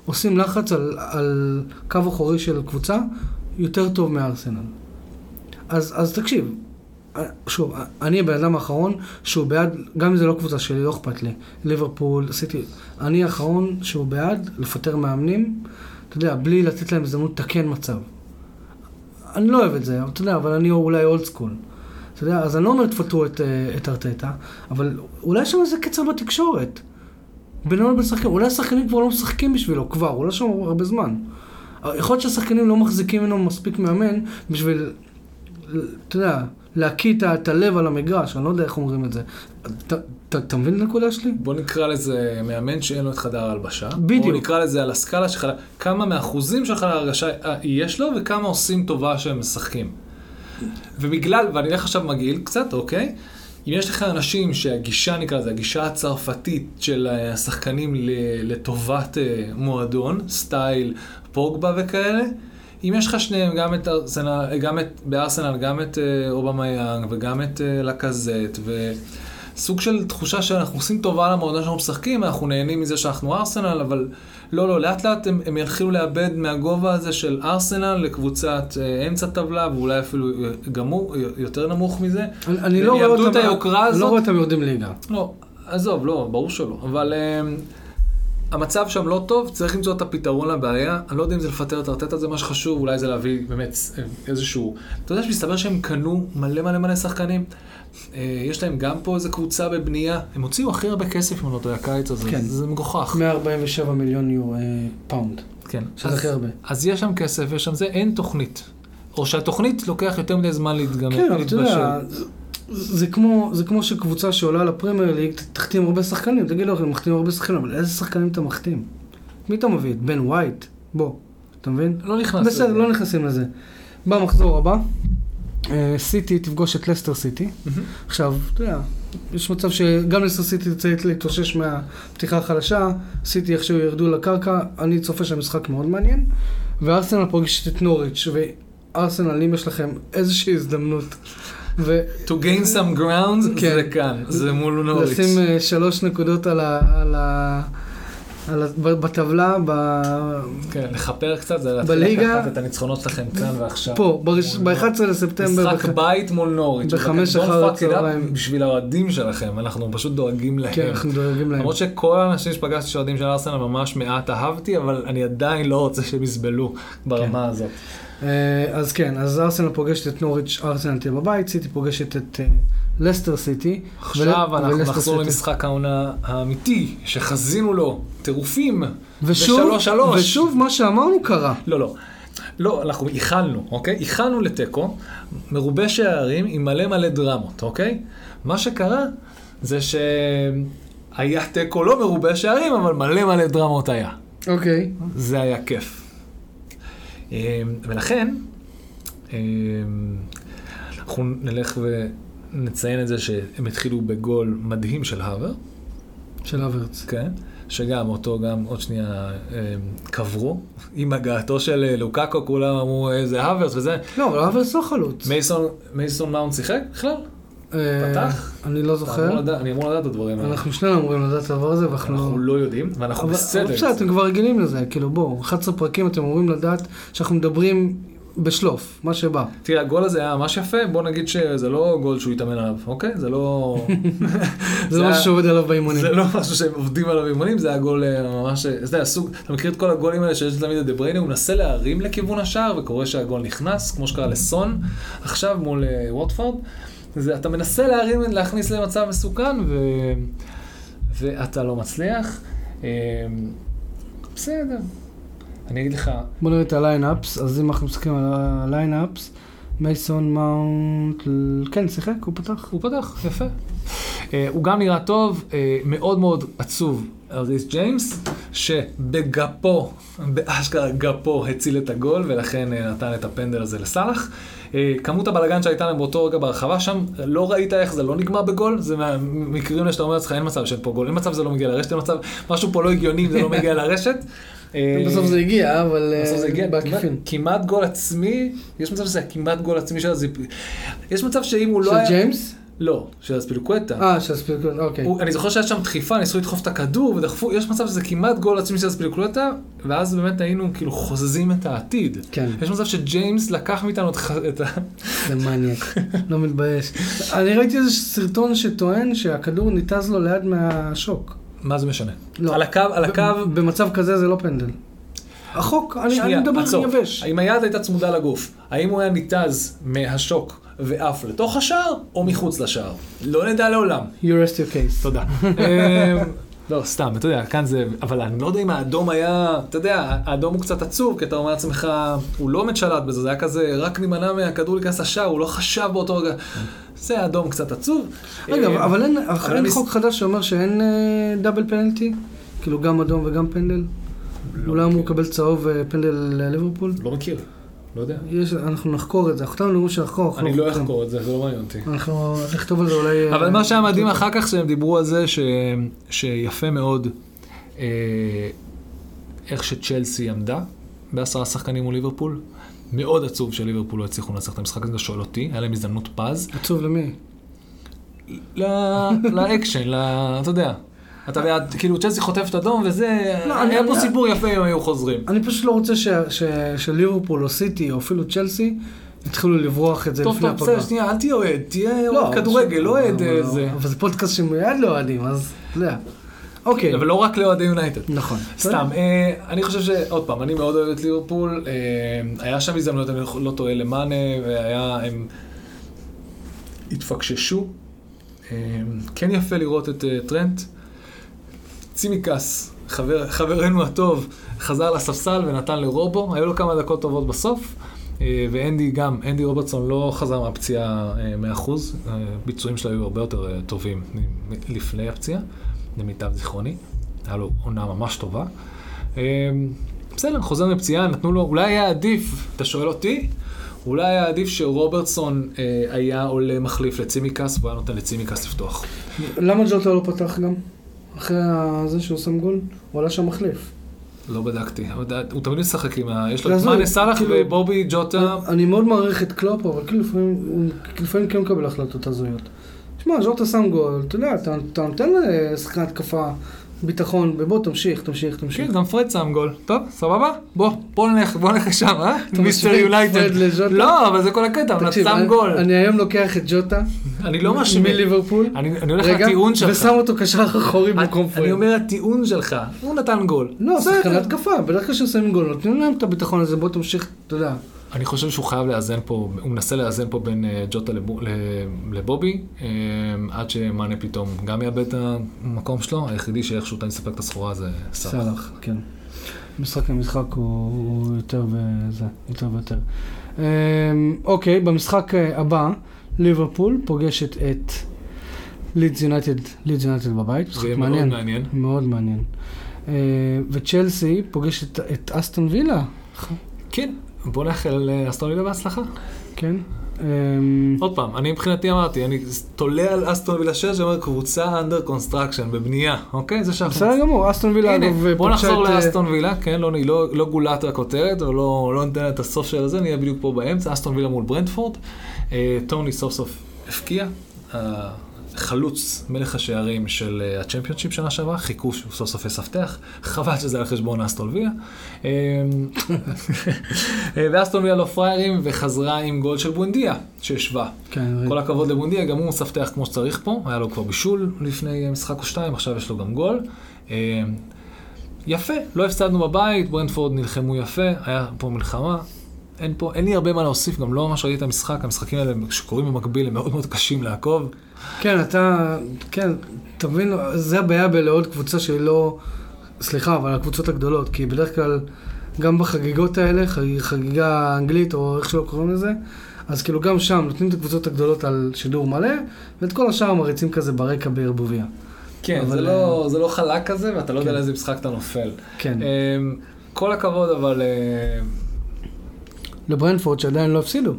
עושים לחץ על, על קו אחורי של קבוצה יותר טוב מארסנל. אז, אז תקשיב, אה, שוב, אני הבן אדם האחרון שהוא בעד, גם אם זה לא קבוצה שלי, לא אכפת לי, ליברפול, עשיתי, אני האחרון שהוא בעד לפטר מאמנים, אתה יודע, בלי לתת להם הזדמנות לתקן מצב. אני לא אוהב את זה, אבל אתה יודע, אבל אני אולי אולד סקול. אתה יודע, אז אני לא אומר תפטרו את, אה, את ארטטה, אבל אולי יש שם איזה קצר בתקשורת. בינינו לבין שחקנים, אולי השחקנים כבר לא משחקים בשבילו, כבר, אולי יש שם הרבה זמן. יכול להיות שהשחקנים לא מחזיקים ממנו מספיק מאמן בשביל, אתה יודע, להקיא את ה- את הלב על המגרש, אני לא יודע איך אומרים את זה. אתה- אתה אתה מבין את הנקודה שלי? בוא נקרא לזה מאמן שאין לו את חדר ההלבשה. בדיוק. בוא נקרא לזה על הסקאלה של חדר, כמה מאחוזים של חדר ההרגשה אה, יש לו וכמה עושים טובה שהם משחקים. Mm. ובגלל, ואני אלך עכשיו מגעיל קצת, אוקיי? אם יש לך אנשים שהגישה, נקרא לזה, הגישה הצרפתית של אה, השחקנים ל- לטובת אה, מועדון, סטייל פוגבה וכאלה, אם יש לך שניהם, גם את, ארסנל, גם את בארסנל, גם את אה, אובמה יאנג וגם את אה, לקזט, וסוג של תחושה שאנחנו עושים טובה למועדון שאנחנו משחקים, אנחנו נהנים מזה שאנחנו ארסנל, אבל לא, לא, לאט לאט הם, הם יתחילו לאבד מהגובה הזה של ארסנל לקבוצת אה, אמצע טבלה, ואולי אפילו אה, גמור, אה, יותר נמוך מזה. אני- אני לא רואה הם יאבדו אותם, את היוקרה אני לא הזאת. רואה אותם יורדים ליגה. לא, עזוב, לא, ברור שלא. אבל אמ, המצב שם לא טוב, צריך למצוא את הפתרון לבעיה. אני לא יודע אם זה לפטר את ארטטה, זה מה שחשוב, אולי זה להביא באמת אמ, איזשהו... אתה יודע שמסתבר שהם קנו מלא מלא מלא שחקנים. אה, יש להם גם פה איזה קבוצה בבנייה. הם הוציאו הכי הרבה כסף, אם לא טועה, הקיץ הזה. כן. זה מגוחך. 147 מיליון יורו, אה, פאונד. כן. שזה אז- הכי הרבה. אז יש שם כסף, יש שם זה, אין תוכנית. או שהתוכנית לוקח יותר מדי זמן להתגמר, כן, אבל אתה יודע, להתבשל. זה- זה כמו, זה כמו שקבוצה שעולה לפרמייר ליג, ת- תחתים הרבה שחקנים, תגיד לו, הם מחתימים הרבה שחקנים, אבל איזה שחקנים אתה מחתים? מי אתה מביא? את בן ווייט? בוא, אתה מבין? לא נכנס בסדר, לזה. לא נכנסים לזה. במחזור הבא, אה, סיטי תפגוש את לסטר סיטי. מהמם. עכשיו, אתה יודע, יש מצב שגם לסטר סיטי צריך להתאושש מהפתיחה החלשה, סיטי איכשהו ירדו לקרקע, אני צופה שהמשחק מאוד מעניין, וארסנל פוגשת את נוריץ', וארסנל, אם יש לכם איזושהי הזדמנות, ולשים To gain some grounds, כן. זה כאן, זה מול נוריץ'. אה, שלוש נקודות על ה... על ה... על ה... ב- בטבלה, ב... כן, לכפר קצת, זה להתחיל בליגה- לקחת את הניצחונות שלכם כאן ועכשיו. פה, ברש... מול נוריץ'. ב-11 לספטמבר. משחק בית מול נוריץ'. בחמש Don't אחר fuck it up הצהריים. בשביל האוהדים שלכם, אנחנו פשוט דואגים להם. כן, אנחנו דואגים להם. למרות שכל האנשים שפגשתי שאוהדים של ארסנל ממש מעט אהבתי, אבל אני עדיין לא רוצה שהם יסבלו כן. ברמה הזאת. אה, אז כן, אז ארסנל פוגשת את נוריץ', ארסנל תהיה בבית, סיטי פוגשת את אה, לסטר סיטי. עכשיו ול- אנחנו ולסטר נחזור סיטי. למשחק העונה האמיתי, שחזינו לו טירופים. ושוב, בשלוש שלוש. ושוב מה שאמרנו קרה. לא, לא. לא, אנחנו איחלנו, אוקיי? איחלנו לתיקו, מרובה שערים עם מלא מלא דרמות, אוקיי? מה שקרה זה שהיה תיקו לא מרובה שערים, אבל מלא מלא דרמות היה. אוקיי. זה היה כיף. אמ, ולכן, אמ, אנחנו נלך ונציין את זה שהם התחילו בגול מדהים של האבר, של אברץ. כן? שגם אותו, גם עוד שנייה אה, קברו. עם הגעתו של אה, לוקאקו, כולם אמרו איזה האברס וזה. לא, אבל אברץ לא חלוץ. מייסון, מייסון מאונט שיחק בכלל? אה, פתח? אני לא אתה אמור זוכר. לדעת- אני אמור לדעת את הדברים האלה. אנחנו שנינו אמורים לדעת את הדבר הזה, ואנחנו... אנחנו לא יודעים, ואנחנו אבל- אבל בסדר. בסדר, אתם כבר רגילים לזה, כאילו בואו, 11 פרקים אתם אמורים לדעת שאנחנו מדברים בשלוף, מה שבא. תראה, הגול הזה היה ממש יפה, בוא נגיד שזה לא גול שהוא התאמן עליו, אוקיי? זה לא... (laughs) זה לא היה- משהו שעובד עליו באימונים. זה לא משהו שהם עובדים עליו אימונים, זה היה גול אה, ממש... אה, זה הסוג, אתה מכיר את כל הגולים האלה שיש תמיד לדה בריינה, הוא מנסה להרים לכיוון השער, וקורה שהגול נכנס, כמו שקרה לסון עכשיו מול אה, ווטפורד. זה, אתה מנסה להרים, להכניס למצב מסוכן, ו... ואתה לא מצליח. אה, בסדר. אני אגיד לך, בוא נראה את הליינאפס, אז אם אנחנו מסתכלים על הליינאפס, מייסון מאונט, כן, שיחק, הוא פתח. הוא פתח, יפה. אה, הוא גם נראה טוב, אה, מאוד מאוד עצוב, אריס ג'יימס, שבגפו, באשכרה גפו, הציל את הגול, ולכן אה, נתן את הפנדל הזה לסאלח. אה, כמות הבלגן שהייתה להם באותו רגע ברחבה שם, לא ראית איך זה לא נגמר בגול, זה מהמקרים האלה שאתה אומר לעצמך, אין מצב שאין פה גול, אין מצב שזה לא מגיע לרשת, אין מצב, משהו פה לא הגיוני אם זה לא מגיע לרשת. אה, בסוף זה הגיע, אבל אה, בסוף זה הגיע בעקיפין. כמעט- כמעט גול עצמי, יש מצב שזה היה כמעט גול עצמי של הזיפ... יש מצב שאם הוא לא של היה... ג'יימס? לא, של אספיליקווטה. אה, של ספילקון, אוקיי. הוא- אני זוכר שהיה שם דחיפה, ניסו לדחוף את הכדור ודחפו, יש מצב שזה כמעט גול עצמי של אספיליקווטה, ואז באמת היינו כאילו חוזזים את העתיד. כן. יש מצב שג'יימס לקח מאיתנו את ח- את ה... זה (laughs) מניאק, לא מתבייש. אני ראיתי איזה סרטון שטוען שהכדור ניתז לו ליד מהשוק. מה זה משנה? לא. על הקו, על הקו... ב- במצב כזה זה לא פנדל. החוק, אני אני שנייה, מדבר עצור. יבש. אם היד הייתה צמודה לגוף, האם הוא היה ניתז מהשוק ועף לתוך השער, או מחוץ לשער? לא נדע לעולם. You rest your case. תודה. אמ, לא, סתם, אתה יודע, כאן זה, אבל אני לא יודע אם האדום היה, אתה יודע, האדום הוא קצת עצוב, כי אתה אומר לעצמך, הוא לא באמת שלט בזה, זה היה כזה, רק נימנע מהכדור להיכנס לשער, הוא לא חשב באותו רגע. זה האדום קצת עצוב. רגע, אמ, אבל אין- אבל אין אני- חוק חדש שאומר שאין אה, דאבל פנלטי? כאילו גם אדום וגם פנדל? הוא לא אמור לקבל צהוב אה, פנדל לליברפול? לא מכיר, לא יודע. יש- אנחנו נחקור את זה, אנחנו תמיד אומרים שנחקור. אני לא אנחנו- אחקור את זה, זה לא מעניין אותי. אנחנו נכתוב על זה אולי... אה, אבל מה שהיה מדהים אחר כך, שהם דיברו על זה ש... שיפה מאוד אה, איך שצ'לסי עמדה בעשרה שחקנים מול ליברפול. מאוד עצוב שליברפול לא הצליחו לנצח את המשחק הזה, אתה שואל אותי, היה להם הזדמנות פז. עצוב למי? ל- (laughs) לאקשן, ל... אתה יודע. אתה יודע, כאילו צ'לסי חוטפת אדום וזה, לא, אני- היה פה אני- סיפור יפה אם היו חוזרים. אני פשוט לא רוצה ש- ש- שליברפול או סיטי או אפילו צ'לסי יתחילו לברוח את זה טוב, לפני טוב, הפגרה. בסדר, שנייה, אל תהיה אוהד, תהיה לא, אוהד כדורגל, לא אוהד אבל- אה, זה. אבל זה פודקאסט שמיד לא אוהדים, אז אתה יודע. אוקיי, אבל לא רק לאוהדי יונייטד. נכון. סתם, אה, אני חושב שעוד פעם, אני מאוד אוהב את ליברפול, אה, היה שם הזדמנויות, אני לא טועה, למאנה, והיה, הם התפקששו. אה, כן יפה לראות את אה, טרנט. צימקס, חבר, חברנו הטוב, חזר לספסל ונתן לרובו, היו לו כמה דקות טובות בסוף. אה, ואנדי גם, אנדי רוברטסון לא חזר מהפציעה אה, 100%, אה, ביצועים שלו היו הרבה יותר אה, טובים מ- לפני הפציעה, למיטב זיכרוני. היה לו עונה ממש טובה. אה, בסדר, חוזר מפציעה, נתנו לו, אולי היה עדיף, אתה שואל אותי? אולי היה עדיף שרוברטסון אה, היה עולה מחליף לצימקס, והוא היה נותן לצימקס לפתוח. למה ג'וטה לא פתח גם? אחרי ה- זה שהוא שם גול? הוא עלה שם מחליף. לא בדקתי, אבל הוא תמיד משחק עם ה... יש לו את לעזוב, מאנה סאלח כאילו- ובובי ג'וטה. אני מאוד מעריך את קלופ, אבל כאילו לפעמים הוא לפעמים כן מקבל החלטות הזויות. שמע, ז'וטה שם גול, אתה יודע, אתה אתה נותן לשחקן התקפה ביטחון, בוא תמשיך, תמשיך, תמשיך. כן, גם פרד שם גול. טוב, סבבה? בוא, בוא נלך, בוא נלך לשם, אה? מיסטר משווה את פרד יונייטד. לז'וטה? לא, אבל זה כל הקטע, הוא תקשיב, שם אני- גול. אני היום לוקח את ג'וטה אני לא מאשים. מליברפול, אני אני הולך רגע, לטיעון שלך. ושם אותו קשר אחורי במקום אני- אני פרד. אומר הטיעון שלך, הוא נתן גול. לא, בסדר. שחקן התקפה, בדרך כלל ששמים גול, נותנים להם את הביטחון הזה, בוא תמשיך, אתה יודע. אני חושב שהוא חייב לאזן פה, הוא מנסה לאזן פה בין אה, ג'וטה לבו- ל- לבובי, אה, עד שמאנה פתאום גם יאבד את המקום שלו, היחידי שאיכשהו אתה מספק את הסחורה זה סאלח. סאלח, כן. משחק למשחק הוא הוא יותר וזה, יותר ויותר. אמ, אוקיי, במשחק אה, הבא, ליברפול פוגשת את לידס יונייטד, לידס יונייטד בבית, משחק זה יהיה מאוד מעניין. מעניין. מאוד מעניין. אה, וצ'לסי פוגשת את אסטון וילה, כן, בוא נאחל אה, אסטון וילה בהצלחה. כן? אמ, עוד פעם, אני מבחינתי אמרתי, אני תולה על אסטון וילה 6, שאומר קבוצה אנדר קונסטרקשן, בבנייה, אוקיי? זה שאנחנו... בסדר גמור, אסטון וילה, הנה, אגב, בוא פגשה נחזור את, אה, לאסטון וילה, כן, לא, היא לא, לא גולת הכותרת, או לא, לא ניתן לה את הסוף של זה, נהיה בדיוק פה באמצע, אסטון וילה מול ברנדפורד. אה, טוני סוף סוף הפקיע, אה, חלוץ, מלך השערים של אה, הצ'מפיונשיפ שנה שעברה, חיכו שהוא סוף סוף יספתח, חבל שזה על חשבון אסטון ויה. אה, (laughs) אה, ואסטון ויה לא פראיירים, וחזרה עם גול של בונדיה, שהשווה. כן, כל הכבוד לבונדיה, גם הוא מספתח כמו שצריך פה, היה לו כבר בישול לפני אה, משחק או שתיים, עכשיו יש לו גם גול. אה, יפה, לא הפסדנו בבית, ברנדפורד נלחמו יפה, היה פה מלחמה. אין פה, אין לי הרבה מה להוסיף, גם לא ממש ראיתי את המשחק, המשחקים האלה שקורים במקביל הם מאוד מאוד קשים לעקוב. כן, אתה, כן, אתה מבין, זה הבעיה בלעוד קבוצה שהיא לא, סליחה, אבל הקבוצות הגדולות, כי בדרך כלל, גם בחגיגות האלה, חג- חגיגה אנגלית, או איך שלא קוראים לזה, אז כאילו גם שם נותנים את הקבוצות הגדולות על שידור מלא, ואת כל השאר מריצים כזה ברקע בערבוביה. כן, אבל, זה לא, זה לא חלק כזה, ואתה לא יודע כן. לאיזה משחק אתה נופל. כן. אמ, כל הכבוד, אבל... אמ, לברנפורד שעדיין לא הפסידו.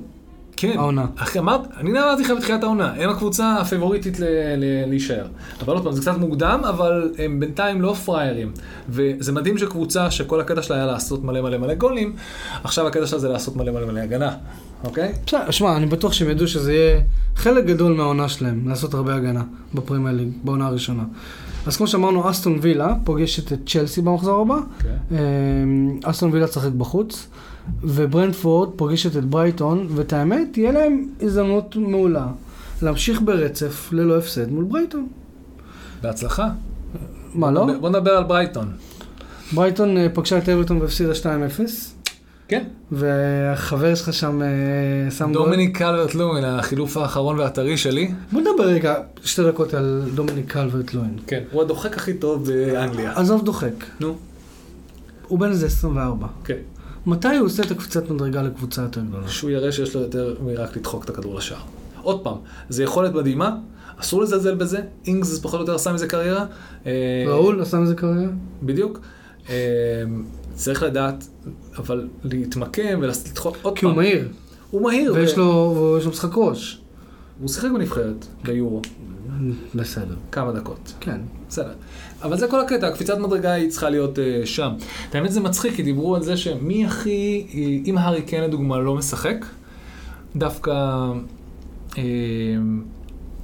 כן. העונה. אחי, אמרת, אני אמרתי לך בתחילת העונה, הם הקבוצה הפיבוריטית ל- ל- להישאר. אבל עוד פעם, זה קצת מוקדם, אבל הם בינתיים לא פראיירים. וזה מדהים שקבוצה שכל הקטע שלה היה לעשות מלא מלא מלא גולים, עכשיו הקטע שלה זה לעשות מלא מלא מלא הגנה, אוקיי? בסדר, שמע, אני בטוח שהם ידעו שזה יהיה חלק גדול מהעונה שלהם, לעשות הרבה הגנה בפרימייר ליג, בעונה הראשונה. אז כמו שאמרנו, אסטון וילה פוגשת את צ'לסי במחזור הבא. אוקיי. אמ, אסטון וילה תשחק בחוץ, וברנדפורד פוגשת את ברייטון, ואת האמת, תהיה להם הזדמנות מעולה להמשיך ברצף ללא הפסד מול ברייטון. בהצלחה. מה, לא? בוא נדבר על ברייטון. ברייטון אה, פגשה את אברטון והפסידה 2-0, כן. והחבר שלך שם אה, שם גול. דומיניק קלוורט לומן, החילוף האחרון והטרי שלי. בוא נדבר רגע שתי דקות על דומיניק קלברט לוין. כן. הוא הדוחק הכי טוב אה, באנגליה. עזוב דוחק, נו. הוא בן איזה 24. כן. מתי הוא עושה את הקפיצת מדרגה לקבוצה יותר גדולה? שהוא יראה שיש לו יותר מרק לדחוק את הכדור לשער. עוד פעם, זו יכולת מדהימה, אסור לזלזל בזה, אינגס פחות או יותר עשה מזה קריירה. אה, ראול עשה מזה קריירה? בדיוק. אה, צריך לדעת, אבל להתמקם ולדחוק עוד כי הוא פעם. מהיר, אה, הוא מהיר. ויש ו- לו ויש לו משחק ראש. הוא שיחק בנבחרת, ביורו, בסדר. כמה דקות. כן. בסדר. אבל זה כל הקטע, הקפיצת מדרגה היא צריכה להיות uh, שם. את האמת זה מצחיק, כי דיברו על זה שמי הכי, אה, אם הארי קיין לדוגמה לא משחק, דווקא uh,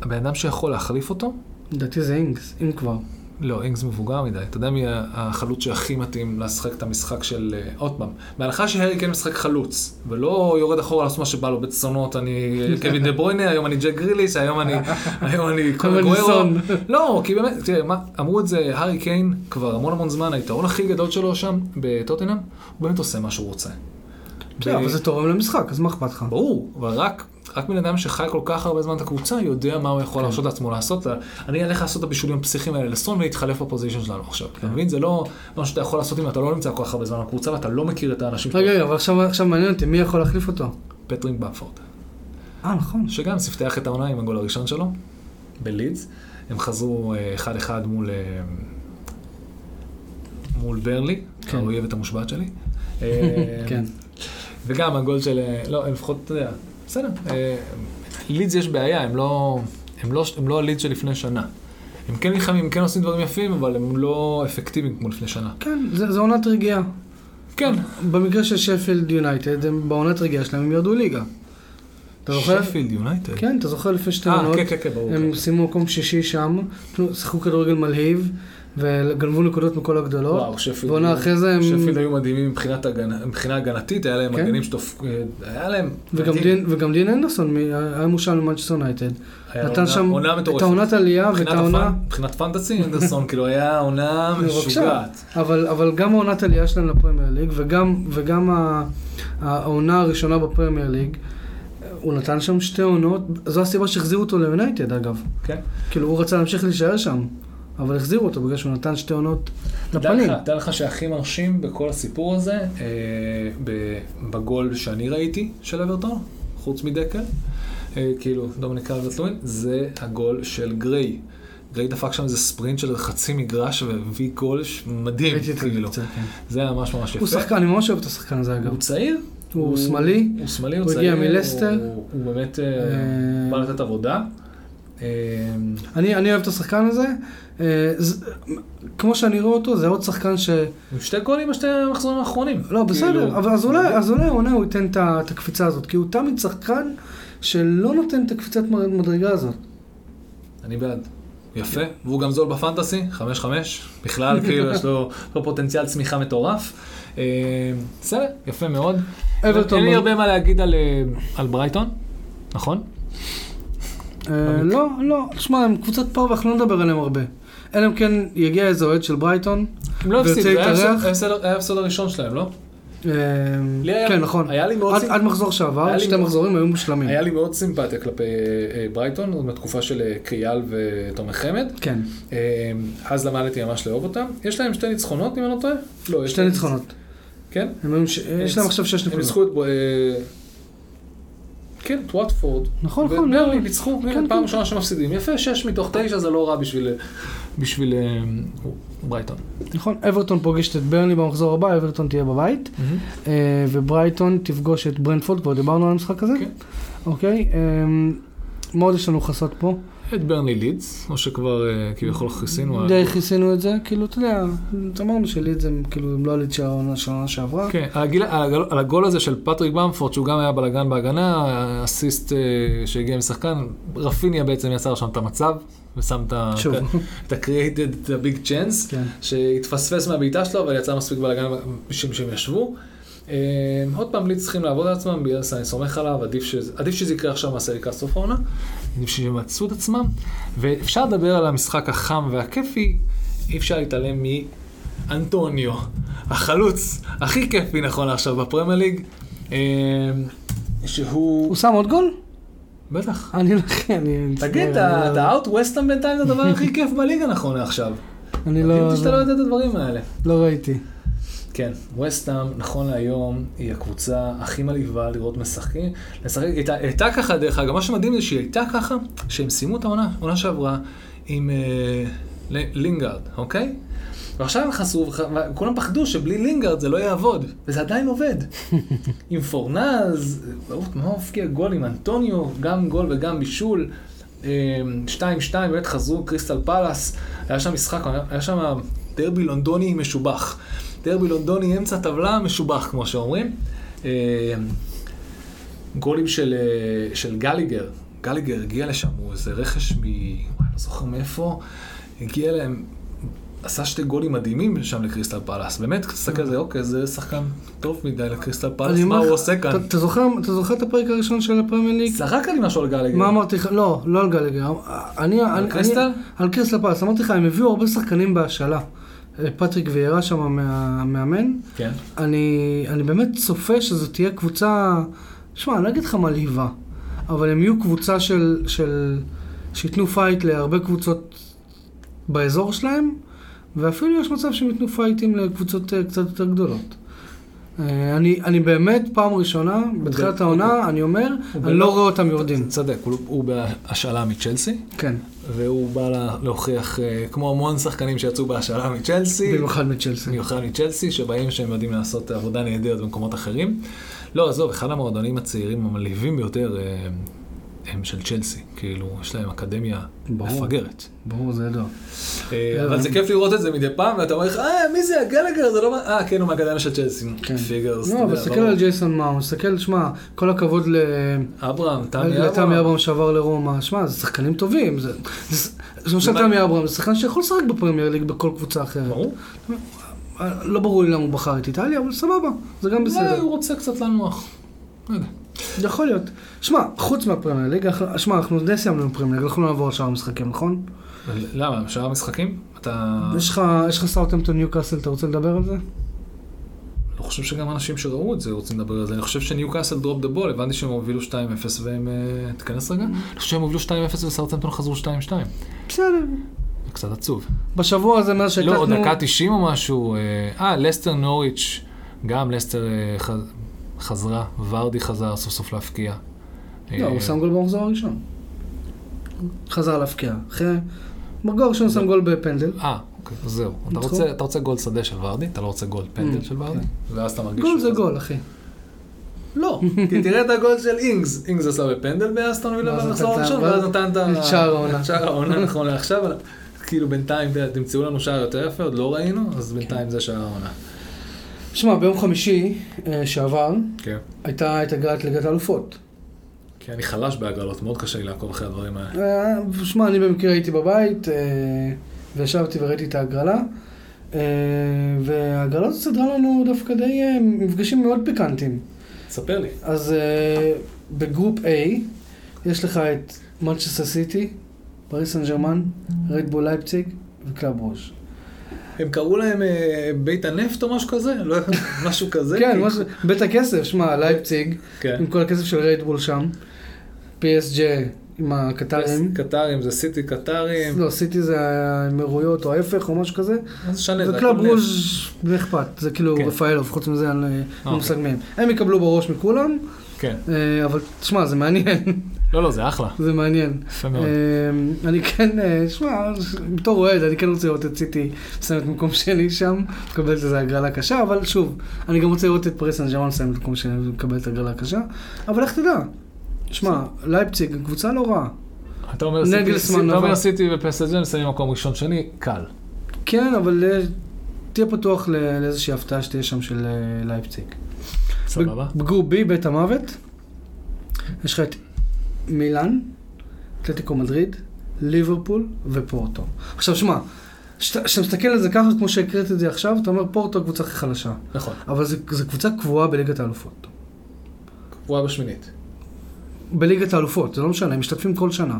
הבן אדם שיכול להחליף אותו, לדעתי זה אינגס, אם כבר. לא, אינגס מבוגר מדי. אתה יודע מי ה- החלוץ שהכי מתאים לשחק את המשחק של... אה, עוד פעם, בהנחה שהארי קיין משחק חלוץ, ולא יורד אחורה לעשות מה שבא לו, בצונות, אני (laughs) אה, קווין דה ברוינה, היום אני ג'ק גריליש, היום אני... היום אני... אבל גוארו. ניסון. לא, כי באמת, תראה, מה, אמרו את זה, הארי קיין כבר המון המון זמן, היתרון הכי גדול שלו שם, בטוטנאם, הוא באמת עושה מה שהוא רוצה. בסדר, אבל זה תורם למשחק, אז מה אכפת לך? ברור, אבל רק, רק בן אדם שחי כל כך הרבה זמן את הקבוצה, יודע מה הוא כן. יכול להרשות לעצמו לעשות. אני אלך לעשות את הבישולים הפסיכיים האלה לסון ולהתחלף בפוזיישן שלנו עכשיו. אתה כן. מבין? זה לא משהו שאתה יכול לעשות אם אתה לא נמצא כל כך הרבה זמן בקבוצה ואתה לא מכיר את האנשים רגע, רגע, אבל עכשיו- עכשיו מעניין אותי, מי יכול להחליף אותו? פטרינג במפורד, אה, נכון. שגם ספתח את העונה עם הגול הראשון שלו, בלידס. הם חזרו אה, 1-1 מול, אה, מול ברנלי, כן. האויבת המושבעת שלי. אה, (laughs) כן. וגם הגול של... לא, הם לפחות, אתה יודע, בסדר. אה, לידס יש בעיה, הם לא... הם לא, הם לא הלידס של לפני שנה. הם כן נלחמים, הם כן עושים דברים יפים, אבל הם לא אפקטיביים כמו לפני שנה. כן, זה- זו עונת רגיעה. כן. במקרה של שפילד יונייטד, הם- בעונת רגיעה שלהם הם ירדו ליגה. אתה זוכר? שפילד יונייטד. כן, אתה זוכר לפני שתי אה, עונות? כן, כן, כן, ברור. הם סיימו מקום שישי שם, נו, שיחקו כדורגל מלהיב, וגנבו נקודות מכל הגדולות. וואו, שפילד. ועונה אחרי זה הם... שפילד היו מדהימים מבחינת הגנה- מבחינה הגנתית, היה להם כן. מגנים שתופ... אה, היה להם... וגם מדהים. דין- וגם דין אנדרסון מ- היה מושל ממנצ'סטר יונייטד. היה נתן עונה- שם עונה את מטורפת. העונת עלייה ואת מבחינת העונה... הפנ- מבחינת פנטסי, אנדרסון, כאילו, (laughs) היה עונה בבקשה. משוגעת. אבל, אבל גם העונת עלייה שלהם לפרמייר ליג, וגם, וגם ה- העונה הראשונה בפרמייר ליג, הוא נתן שם שתי עונות, זו הסיבה שהחזירו אותו ליונייטד אגב. כן. כאילו הוא רצה להמשיך להישאר שם, אבל החזירו אותו בגלל שהוא נתן שתי עונות דע לפנים. לך, דע לך שהכי מרשים בכל הסיפור הזה, אה, ב- בגול שאני ראיתי של אברטון, חוץ מדקל, אה, כאילו דומיניק אלברט לוין, זה הגול של גריי. גריי דפק שם איזה ספרינט של חצי מגרש והביא גול ש- מדהים, ראיתי את זה כאילו. קצת, כן. זה היה ממש ממש יפה. הוא שחקן, אני ממש אוהב את השחקן הזה אגב. הוא צעיר. הוא שמאלי, הוא שמאלי, הוא הוא צעיר. הגיע מלסטר. הוא- הוא באמת אה, אה, בא לתת עבודה. אה, אני, אני אוהב את השחקן הזה. אה, ז, כמו שאני רואה אותו, זה עוד שחקן ש... עם שתי גולים בשתי המחזורים האחרונים. לא, בסדר, כאילו, אבל אז אולי, אז אולי העונה הוא ייתן את ה- את הקפיצה הזאת, כי הוא תמיד שחקן שלא נותן את הקפיצת מ- מדרגה הזאת. אני בעד. יפה, והוא גם זול בפנטסי, 5-5, בכלל (laughs) כאילו יש לו, יש לו פוטנציאל צמיחה מטורף. אה, בסדר, יפה מאוד. אברטון אין לי מול- הרבה מה להגיד על, אה, על ברייטון, נכון? אוקיי. אה, לא, לא, תשמע, הם קבוצת פרווה, אנחנו לא נדבר עליהם הרבה. אלא אם כן יגיע איזה אוהד של ברייטון. הם לא הפסידו, ויוצא זה היה להתארח. ההפסד- היה ההפסד- היה ההפסד הראשון שלהם, לא? אה, לי היה- כן, נכון. היה לי מאוד עד- סימפ- עד מחזור היה שעבר, לי שתי מאוד- מחזורים היו מושלמים. היה לי מאוד סימפתיה כלפי אה, אה, ברייטון, עוד מהתקופה של אה, קריאל ותומר חמד. כן, אה, אז למדתי ממש לאהוב אותם. יש להם שתי ניצחונות, אם אני לא טועה? לא, יש שתי להם- ניצחונות. כן? הם היו ש- יש להם עכשיו שש הם נקודות. ניצחו את... בו- אה, כן, את וואטפורד. נכון, ואת נכון, ברלי לא. ניצחו, כן, הנה, פעם כן. ראשונה שמפסידים. יפה, שש מתוך תשע זה לא רע בשביל- בשביל אה, ברייטון. נכון, אברטון פוגשת את ברני במחזור הבא, אברטון תהיה בבית, אה, וברייטון תפגוש את ברנפורד, כבר דיברנו על המשחק הזה. כן. אוקיי, אה, מה עוד יש לנו לכסות פה? את ברני לידס, או שכבר אה, כביכול כיסינו. די כיסינו את זה, כאילו, אתה יודע, אמרנו שליד זה, כאילו, הם לא הליד של העונה של העונה שעברה. כן, על הגיל- על הגול- על הגול הזה של פטריק במפורד, שהוא גם היה בלאגן בהגנה, אסיסט אה, שהגיע משחקן, רפיניה בעצם יצר שם את המצב, ושם את ה- שוב. את ה-created, את ה-big chance, כן. שהתפספס מהבעיטה שלו, אבל יצר מספיק בלאגן בשביל שהם ישבו. אה, עוד פעם, לי צריכים לעבוד על עצמם, ביאלסה אני סומך עליו, עדיף שזה- עדיף שזה יקרה עכשיו מהסריקה לקראת סוף העונה, עדיף שימצאו את עצמם, ואפשר לדבר על המשחק החם והכיפי, אי אפשר להתעלם מאנטוניו, החלוץ הכי כיפי נכון לעכשיו בפרמייר ליג, אה, שהוא... הוא שם עוד גול? בטח. אני לא... (laughs) אני... לא- תגיד, אתה אתה out western בינתיים זה הדבר הכי כיף בליגה נכון לעכשיו. אני לא... לא... מדהים שאתה לא יודע את הדברים האלה. לא ראיתי. כן, וסטאם, נכון להיום, היא הקבוצה הכי מלהיבה לראות משחקים. לשחק, היא הייתה- הייתה ככה, דרך אגב, מה שמדהים זה שהיא הייתה ככה, שהם סיימו את העונה, עונה שעברה, עם אה, ל- לינגארד, אוקיי? ועכשיו הם חסרו, וח- וכולם פחדו שבלי לינגארד זה לא יעבוד, וזה עדיין עובד. עם פורנז, ברור, מה הופקיע גול עם אנטוניו, גם גול וגם בישול. אה, 2-2, באמת חזרו קריסטל פלאס, היה שם משחק, היה שם דרבי לונדוני משובח. דרבי לונדוני אמצע טבלה משובח, כמו שאומרים. אה, גולים של, אה, של גליגר, גליגר הגיע לשם, הוא איזה רכש מ... וואי, לא זוכר מאיפה, הגיע אליהם, עשה שתי גולים מדהימים שם לקריסטל פלאס, באמת, תסתכל על זה, אוקיי, זה שחקן טוב מדי לקריסטל פלאס, אני אומר מה הוא לך, עושה כאן? אתה- אתה זוכר- אתה זוכר את הפרק הראשון של הפרמייר ליג? זרק לי משהו על גליגר. מה אמרתי לך? לא, לא על גלגר. אני... על קריסטל? על קריסטל פלס. אמרתי לך, הם הביאו הרבה שחקנים בהשאלה. אה, פטריק ויירה שם מה- המאמן. כן. אני, אני באמת צופה שזו תהיה קבוצה, שמע, אני לא אגיד לך מלהיבה, אבל הם יהיו קבוצה של, של שייתנו פייט להרבה קבוצות באזור שלהם, ואפילו יש מצב שהם ייתנו פייטים לקבוצות אה, קצת יותר גדולות. אה, אני, אני באמת פעם ראשונה, בתחילת העונה, אני אומר, אני לא רואה אותם יורדים. צדק, הוא- הוא בהשאלה מצ'לסי, כן, והוא בא לה- להוכיח, אה, כמו המון שחקנים שיצאו בהשאלה מצ'לסי, במיוחד מצ'לסי. במיוחד מצ'לסי, שבאים שהם יודעים לעשות עבודה נהדרת במקומות אחרים. לא, עזוב, אחד המועדונים הצעירים המלהיבים ביותר אה, הם של צ'לסי. כאילו, יש להם אקדמיה ברור. מפגרת. ברור, זה ידוע. אה, אבל זה כיף לראות את זה מדי פעם, ואתה אומר לך, אה, מי זה הגלגר? זה לא... מה-" אה, כן, הוא מהאקדמיה של צ'לסי. כן. פיגרס, לא, אבל תסתכל על ג'ייסון מאונד, תסתכל, שמע, כל הכבוד ל... אברהם, תמי תמי אברהם. אברהם שעבר לרומא, שמע, זה שחקנים טובים. זה- זה- זה לא למשל מה- תמי אברהם, זה שחקן שיכול לשחק בפרמייר ליג בכל קבוצה אחרת. ברור. אה, לא ברור לי למה הוא בחר את איטליה, אבל סבבה, זה גם אולי בסדר. הוא רוצה קצת לנוח. לא יודע. יכול להיות. שמע, חוץ מהפרמייר ליג, אנחנו- שמע, אנחנו די סיימנו עם פרמייר ליג, אנחנו לא נעבור על שאר המשחקים, נכון? למה, שאר המשחקים? אתה... יש לך- יש לך סאוטהמפטון ניו קאסל, אתה רוצה לדבר על זה? אני לא חושב שגם אנשים שראו את זה רוצים לדבר על זה. אני חושב שניוקאסל דרופ דה בול, הבנתי שהם הובילו 2-0 והם... אה, תיכנס Mm. רגע? אני חושב שהם הובילו 2-0 וסרטנטון חזרו 2-2. בסדר. זה קצת עצוב. בשבוע הזה מאז לא, עוד שהקלטנו... דקה 90 או משהו. אה, אה, לסטר נוריץ', גם לסטר אה, ח- חזרה, ורדי חזר סוף סוף להפקיע. לא, אה, הוא שם גול במחזור הראשון. חזר להפקיע. אחרי... במחזור הראשון הוא שם גול בפנדל. אה, אוקיי, אז זהו. אתה ניצחו. רוצה- אתה רוצה גול שדה של ורדי, אתה לא רוצה גול פנדל Mm, של ורדי, כן. ואז אתה מרגיש... גול שהוא זה חזר. גול, אחי. לא, כי תראה את הגול של אינגס, אינגס עשה בפנדל באסטון וילה ואז במחזור נתן את הראשון, ה- ואז נתן את ה- את שער העונה. את שער העונה, נכון לעכשיו, אבל כאילו בינתיים, אתה יודע, תמצאו לנו שער יותר יפה, עוד לא ראינו, כן. אז בינתיים זה שער העונה. שמע, ביום חמישי אה, שעבר כן. הייתה את הגעת ליגת האלופות. כי אני חלש בהגרלות, מאוד קשה לי לעקוב אחרי הדברים האלה. אה, שמע, אני במקרה הייתי בבית, אה, וישבתי וראיתי את ההגרלה, אה, וההגרלה הזאת סדרה לנו דווקא די אה, מפגשים מאוד פיקנטיים. ספר לי. אז אה, בגרופ A יש לך את מנצ'סטר סיטי, פריס סן ג'רמן, רדבול לייפציג וקלאב ראש. הם קראו להם אה, בית הנפט או משהו כזה? לא, (laughs) משהו כזה? כן, כי- משהו- בית הכסף, שמע, לייפציג, כן. עם כל הכסף של רדבול שם, PSG עם הקטרים. קטרים זה סיטי קטרים. לא, סיטי זה האמירויות או ההפך או משהו כזה. מה זה שנה? כן, זה וקלאב הכל נפט. רוז' לא אכפת, זה כאילו כן. רפאלוב, חוץ מזה אני לא- אוקיי. לא מושג מהם. הם יקבלו בראש מכולם, כן. אה, אבל תשמע, זה מעניין, (laughs) לא, לא, זה אחלה. זה מעניין. יפה מאוד. אה, אני כן, אה, שמע, בתור אוהד, אני כן רוצה לראות את סיטי מסיימת מקום שני שם, מקבלת איזו הגרלה קשה, אבל שוב, אני גם רוצה לראות את פריס סן ג'רמן מסיימת מקום שני ומקבלת הגרלה קשה, אבל איך תדע? שמע, לייפציג, קבוצה לא רעה. אתה אומר נגלסמן סיטי- סיטי- אתה עבר. אומר סיטי ופסג'ן שמים מקום ראשון שני, קל. כן, אבל אה, תהיה פתוח ל- לאיזושהי הפתעה שתהיה שם של אה, לייפציג. סבבה. בגרופ B, בית המוות. יש לך את מילאן, אתלטיקו מדריד, ליברפול ופורטו. עכשיו שמע, כשאתה כשאתה מסתכל על זה ככה, כמו שהקראתי את זה עכשיו, אתה אומר פורטו הקבוצה הכי חלשה. נכון. אבל זו קבוצה קבועה בליגת האלופות. הוא היה בשמינית. בליגת האלופות, זה לא משנה, הם משתתפים כל שנה,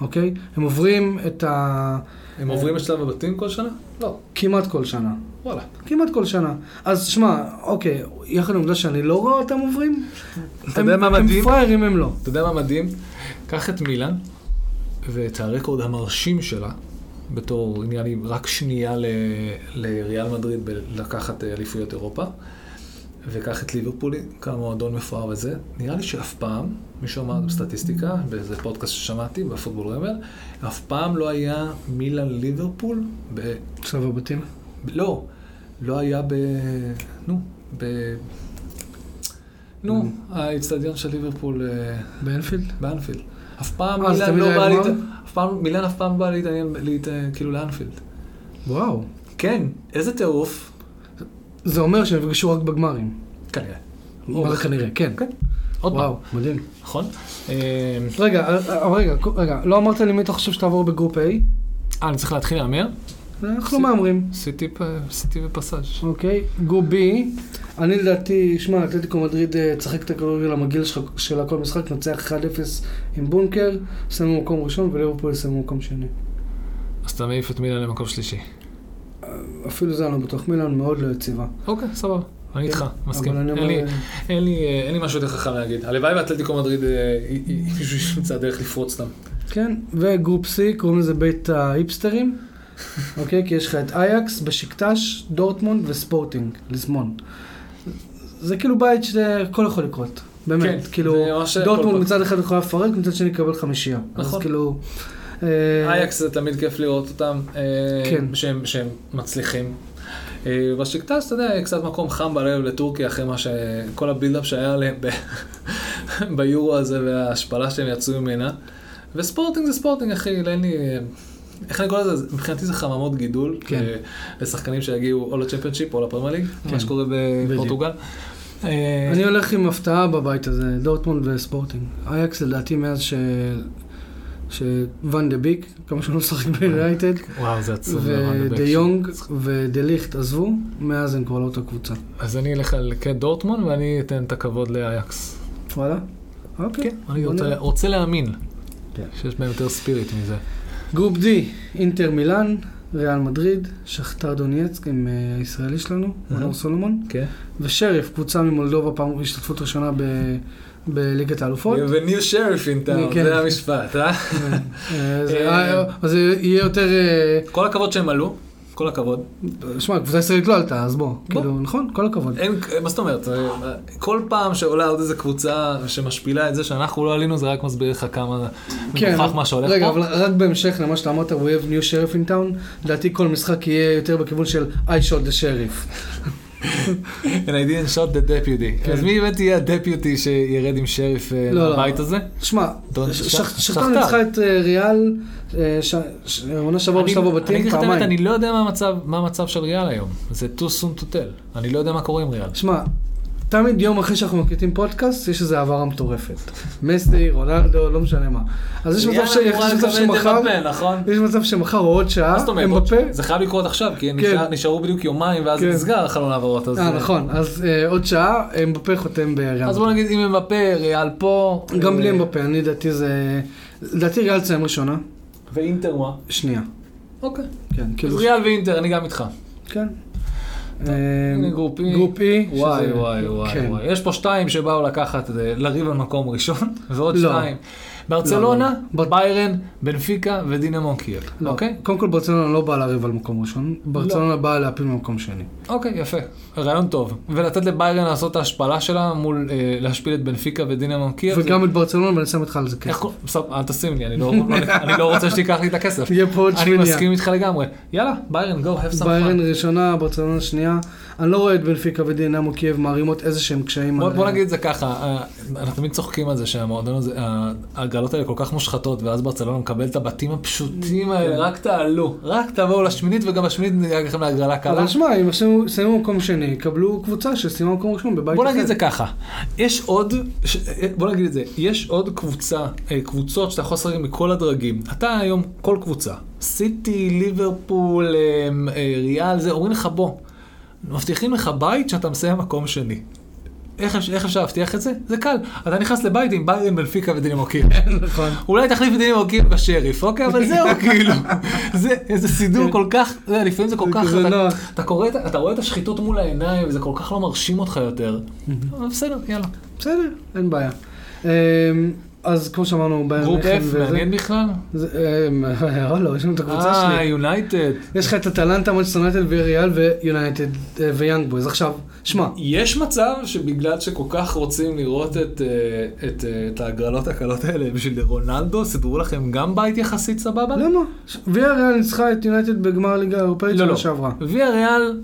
אוקיי? הם עוברים את ה... הם עוברים את שלב הבתים כל שנה? לא. כמעט כל שנה. וואלה. כמעט כל שנה. אז שמע, אוקיי, יחד עם העובדה שאני לא רואה אותם עוברים, אתה הם- יודע מה מדהים? הם פראיירים הם לא. אתה יודע מה מדהים? קח את מילאן ואת הרקורד המרשים שלה, בתור נראה לי רק שנייה ל- לריאל מדריד בלקחת אה, אליפויות אירופה, וקח את ליברפולי, כמה מועדון מפואר וזה. נראה לי שאף פעם, מישהו אמר בסטטיסטיקה, באיזה פודקאסט ששמעתי, בפוטבול רמל, אף פעם לא היה מילאן ליברפול, ב- שלב הבתים. לא, לא היה ב... נו, ב... נו, האיצטדיון של ליברפול... אה, באנפילד? באנפילד. אף פעם אה, אז מילן תמיד לא היה בא גמר? להתעניין, אף פעם, מילן אף פעם לא בא להתעניין, להתעניין כאילו לאנפילד. וואו. כן, איזה טירוף. זה אומר שהם יפגשו רק בגמרים. כנראה. מה זה כנראה, כן. כן. עוד פעם, וואו, מדהים. נכון? אה, רגע, אה, אה, רגע, קו- רגע, לא אמרת לי מי אתה חושב שתעבור בגרופ A? אה, אני צריך להתחיל להמר? אנחנו מהמרים. סיטי פ- סיטי ופסאז'. אוקיי, גרופ B, אני לדעתי, שמע, אתלטיקו מדריד אה, תשחק את הכדורגל המגעיל שלך- שלה כל משחק, נצח 1-0 עם בונקר, שמו מקום ראשון וליברפול שמו מקום שני. אז אתה מעיף את מילן למקום שלישי. אפילו זה אני לא בטוח, מילאן מאוד לא יציבה. אוקיי, סבבה. אני איתך, מסכים. כן. אבל אני אין לי- אומר, אין לי, אה, אין לי משהו יותר חכם להגיד. הלוואי ואתלטיקו מדריד, אה, היא- היא- היא- מישהו ימצא דרך לפרוץ אותם. כן, וגרופ C, קוראים לזה בית (laughs) ההיפסטרים, אוקיי? כי יש לך את אייקס, בשקטש, דורטמונד וספורטינג, ליסמון. זה כאילו בית שהכל יכול לקרות, באמת. כן, כאילו, זה ממש הכל דורטמונד פה. מצד אחד יכולה לפרק, מצד שני יקבל חמישייה. נכון. אז כאילו... אה, אייקס זה תמיד כיף לראות אותם, אה, כן. שהם, שהם מצליחים. אה, בשקטס, אתה יודע, קצת מקום חם בלב לטורקיה אחרי מה ש... כל הבילדאפ שהיה עליהם ב... (laughs) ביורו הזה וההשפלה שהם יצאו ממנה. וספורטינג זה ספורטינג, אחי, אין לי... אה, איך אני קורא לזה? מבחינתי זה חממות גידול. כן. אה, לשחקנים שיגיעו או לצ'מפיונשיפ או לפרמייר ליג, כן. מה שקורה בפורטוגל. אה, אני הולך עם הפתעה בבית הזה, דורטמונד וספורטינג. אייקס לדעתי מאז ש... שוואן דה ביק, כמה שהוא לא אה. משחק ביונייטד, וואו, זה עצוב. נורא לדבר. ודה יונג ודה ליכט עזבו, מאז הם כבר לא אותה קבוצה. אז אני אלך על קט דורטמון ואני אתן את הכבוד לאייקס. וואלה? אוקיי. כן, אני בוא רוצה, נראה. רוצה להאמין כן. שיש בהם יותר ספיריט מזה. גרופ D, אינטר מילאן, ריאל מדריד, שכתר דונייצק עם אה, הישראלי שלנו, מנור סולומון, כן. ושריף, קבוצה ממולדובה, פעם השתתפות ראשונה ב- בליגת האלופות. וניר שריף אין טאון, כן. זה המשפט, אה? אה, זה- אה, אה, אז זה יהיה יותר... אה, כל הכבוד שהם עלו, כל הכבוד. שמע, קבוצה ישראלית לא עלתה, אז בוא. בוא. כאילו, נכון? כל הכבוד. אין, מה זאת אומרת? אה, כל פעם שעולה עוד איזה קבוצה שמשפילה את זה שאנחנו לא עלינו, זה רק מסביר לך כמה כן, מוכח מה שהולך רגע, פה. אבל רק בהמשך למה שאתה אמרת, We have new sheriff in town, לדעתי כל משחק יהיה יותר בכיוון של I shot the sheriff. And I didn't shot the deputy. כן. אז מי באמת יהיה הדפיוטי שירד עם שריף אה, לא, לא. מהבית הזה? שמע, דון- ש- שכ- שכ- שכתר. שכתר ניצחה את אה, ריאל, אה, ש- ש- עונה שעברה אני- בשלב אני הבתים אגיד לך את האמת, אני פעמיים. לא יודע מה המצב- מה המצב של ריאל היום. זה too soon to tell. אני לא יודע מה קורה עם ריאל. שמע, תמיד יום אחרי שאנחנו מקליטים פודקאסט, יש איזו העברה מטורפת. מסי, רונלדו, לא משנה מה. אז יש מצב ש- יש מצב שמחר, נכון? יש מצב שמחר או עוד מה שעה, זאת אומרת? הם בפה. זה חייב לקרות עכשיו, כי כן. נשאר- נשארו בדיוק יומיים ואז כן. נסגר חלון העברות. אז- אה, נכון, אז אה, עוד שעה, הם בפה חותם בריאל. אז בוא נגיד אם הם בפה, ריאל פה. גם אה, בלי אמבפה, אני לדעתי זה... לדעתי ריאל תסיים ראשונה. ואינטר מה? שנייה. אוקיי. כן, אז כאילו... ריאל ואינטר, אני גם איתך. כן. הנה אה, גרופ E. גרופ E. וואי שזה- וואי וואי כן. וואי. יש פה שתיים שבאו לקחת, אה, לריב על מקום ראשון, (laughs) ועוד לא. שתיים. ברצלונה, לא, לא. ביירן, בנפיקה ודינמו קייב. לא, אוקיי? לא. קודם כל ברצלונה לא באה לריב על מקום ראשון, ברצלונה באה להפיל ממקום שני. אוקיי, יפה. רעיון טוב. ולתת לביירן לעשות את ההשפלה שלה מול אה, להשפיל את בנפיקה ודינמו קייב. וגם את ברצלונה ואני שם איתך על זה איך כסף. קוראים? בסדר, אל תשים לי, אני לא- אני לא (laughs) רוצה שתיקח לי את הכסף. תהיה פה עוד אני שמיניה. מסכים איתך לגמרי. יאללה, ביירן, go, have some ביירן fun. ראשונה, ברצלונה שנייה. אני לא רואה את בנפיקה ודינמו קייב מערימות איזה שהם קשיים. בוא על- בוא נגיד את זה ככה, אה, אנחנו תמיד צוחקים על זה שהמועדון הזה, אה, ההגרלות האלה כל כך מושחתות, ואז ברצלונה מקבל את הבתים כן. הפשוטים האלה, רק תעלו, רק תבואו לשמינית, וגם בשמינית נדאג לכם להגרלה קלה. אבל שמע, אם ישימו- יסיימו מקום שני, יקבלו קבוצה שסיימה מקום ראשון בבית אחר. בוא נגיד את זה ככה, יש עוד, ש- אה, בוא נגיד את זה, יש עוד קבוצה, אה, קבוצות שאתה יכול לשחק מכל הדרגים. אתה היום, כל קבוצה, סיטי, ליברפול, אה, אה, ריאל, זה, אומרים לך בוא, מבטיחים לך בית שאתה מסיים מקום שני. איך, אפ- איך אפשר להבטיח את זה? זה קל. אתה נכנס לבית עם ביירן, בנפיקה ודינמוקים. נכון. אולי תחליף את דינמוקים בשריף, אוקיי? אבל (laughs) זהו, כאילו. זה איזה סידור כל כך, אתה יודע, לפעמים זה כל כן. זה כך... כזה אתה- נוח. אתה קורא, את- אתה רואה את השחיתות מול העיניים, וזה כל כך לא מרשים אותך יותר. אבל בסדר, יאללה. בסדר, אין בעיה. אמ, אז כמו שאמרנו, ביירן גרופ לחם F, אה, וזה- מעניין בכלל? זה- אמ, וואלה, יש לנו את הקבוצה אה, שלי. יונייטד. יש לך את אטלנטה, מונצ'סטר יונייטד וריאל ויונייטד אה, ויאנג בויז. עכשיו, שמע, יש מצב שבגלל שכל כך רוצים לראות את, אה, את, אה, את ההגרלות הקלות האלה בשביל רונלדו, סידרו לכם גם בית יחסית סבבה? למה? ויאריאל ניצחה את יונייטד בגמר הליגה האירופאית לא, לא, שנה לא. שעברה. ויה ריאל,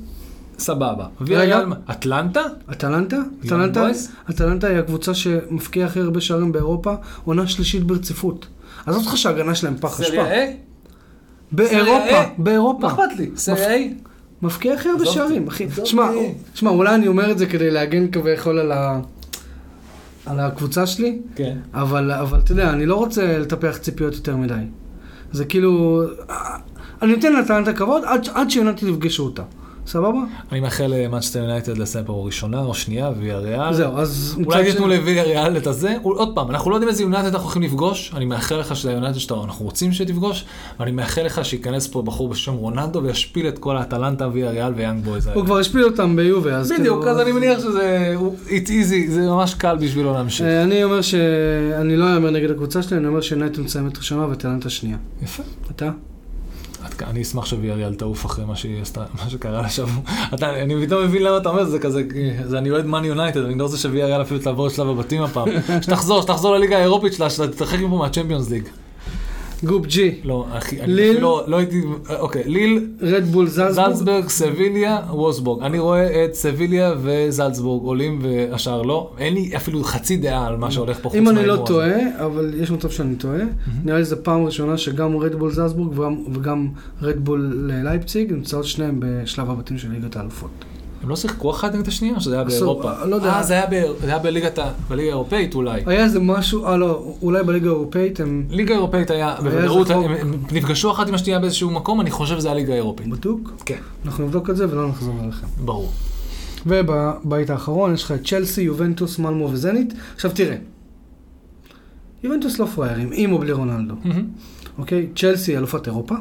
סבבה. ויה ריאל, אטלנטה? אטלנטה? אטלנטה- בויז? אטלנטה היא הקבוצה שמפקיעה הכי הרבה שערים באירופה, עונה שלישית ברציפות. עזוב אותך שההגנה שלהם פח אשפה. סריה A? סריה באירופה, A? באירופה. מה אכפת לי? סריה A? מפקיע הכי הרבה עזוב שערים, אותי, אחי. עזוב שמע, אותי. שמע, אולי אני אומר את זה כדי להגן כביכול על ה... על הקבוצה שלי, כן. אבל, אבל אתה יודע, אני לא רוצה לטפח ציפיות יותר מדי. זה כאילו... אה, אני נותן לטענת כבוד עד, עד שיונתן יפגשו אותה. סבבה? אני מאחל אה, למאנצ'סטר יונייטד לסיים פה ראשונה או שנייה, ויה ריאל. זהו, אז... מצד אה, אולי תיתנו שני- לוויה ריאל את הזה. עוד פעם, אנחנו לא יודעים איזה יונייטד אנחנו הולכים לפגוש. אני מאחל לך שזה היונייטד שאתה- אנחנו רוצים שתפגוש. ואני מאחל לך שייכנס פה בחור בשם רוננדו וישפיל את כל האטלנטה, ויה ריאל ויאנג בויז. האלה. הוא כבר השפיל אותם ביובה, אז בדיוק, אז אני מניח שזה... הוא- It's easy, זה ממש קל בשבילו להמשיך. אה, אני אומר ש... אני לא אאמר נגד הקבוצה שלי, אני אומר שיונתן מסיימת ראשונה וטענת השנייה. יפה. אתה? עד כאן, אני אשמח שוויה ריאל תעוף אחרי מה שהיא עשתה, מה שקרה לה שבוע. אתה, אני פתאום מבין למה אתה אומר, זה כזה, זה אני אוהד מאן יונייטד, אני לא רוצה שוויה ריאל אפילו תעבור את שלב הבתים (laughs) הפעם. שתחזור, שתחזור לליגה האירופית שלה, שתתרחק מפה מהצ'מפיונס ליג. גרופ ג'י, לא, אחי, אני ליל? אפילו לא הייתי, אוקיי, ליל, רדבול זלצבורג. זלצברג, סביליה, ווסבורג. אני רואה את סביליה וזלצבורג עולים והשאר לא. אין לי אפילו חצי דעה על מה שהולך פה חוץ אם אני לא מההימור הזה. טועה, אבל יש מצב שאני טועה, נראה לי זו פעם ראשונה שגם רדבול זלצבורג וגם- וגם רדבול לייפציג נמצאות שניהם בשלב הבתים של ליגת האלופות. הם לא שיחקו אחת נגד השנייה, או שזה היה אסור, באירופה? לא יודע. אה, זה היה ב- זה היה בליגת ה- בליגה האירופאית אולי. היה איזה משהו, אה לא, אולי בליגה האירופאית הם... ליגה אירופאית היה, בוודאות, איזה חוק? הם הם נפגשו אחת עם השנייה באיזשהו מקום, אני חושב שזה היה ליגה אירופאית. בדוק? כן, אנחנו נבדוק את זה ולא נחזור אליכם. ברור. ובבית האחרון יש לך את צ'לסי, יובנטוס, מלמו וזנית. עכשיו תראה, יובנטוס לא פראיירים, עם או בלי רונלדו, אוקיי? צ'לסי אלופת אירופה,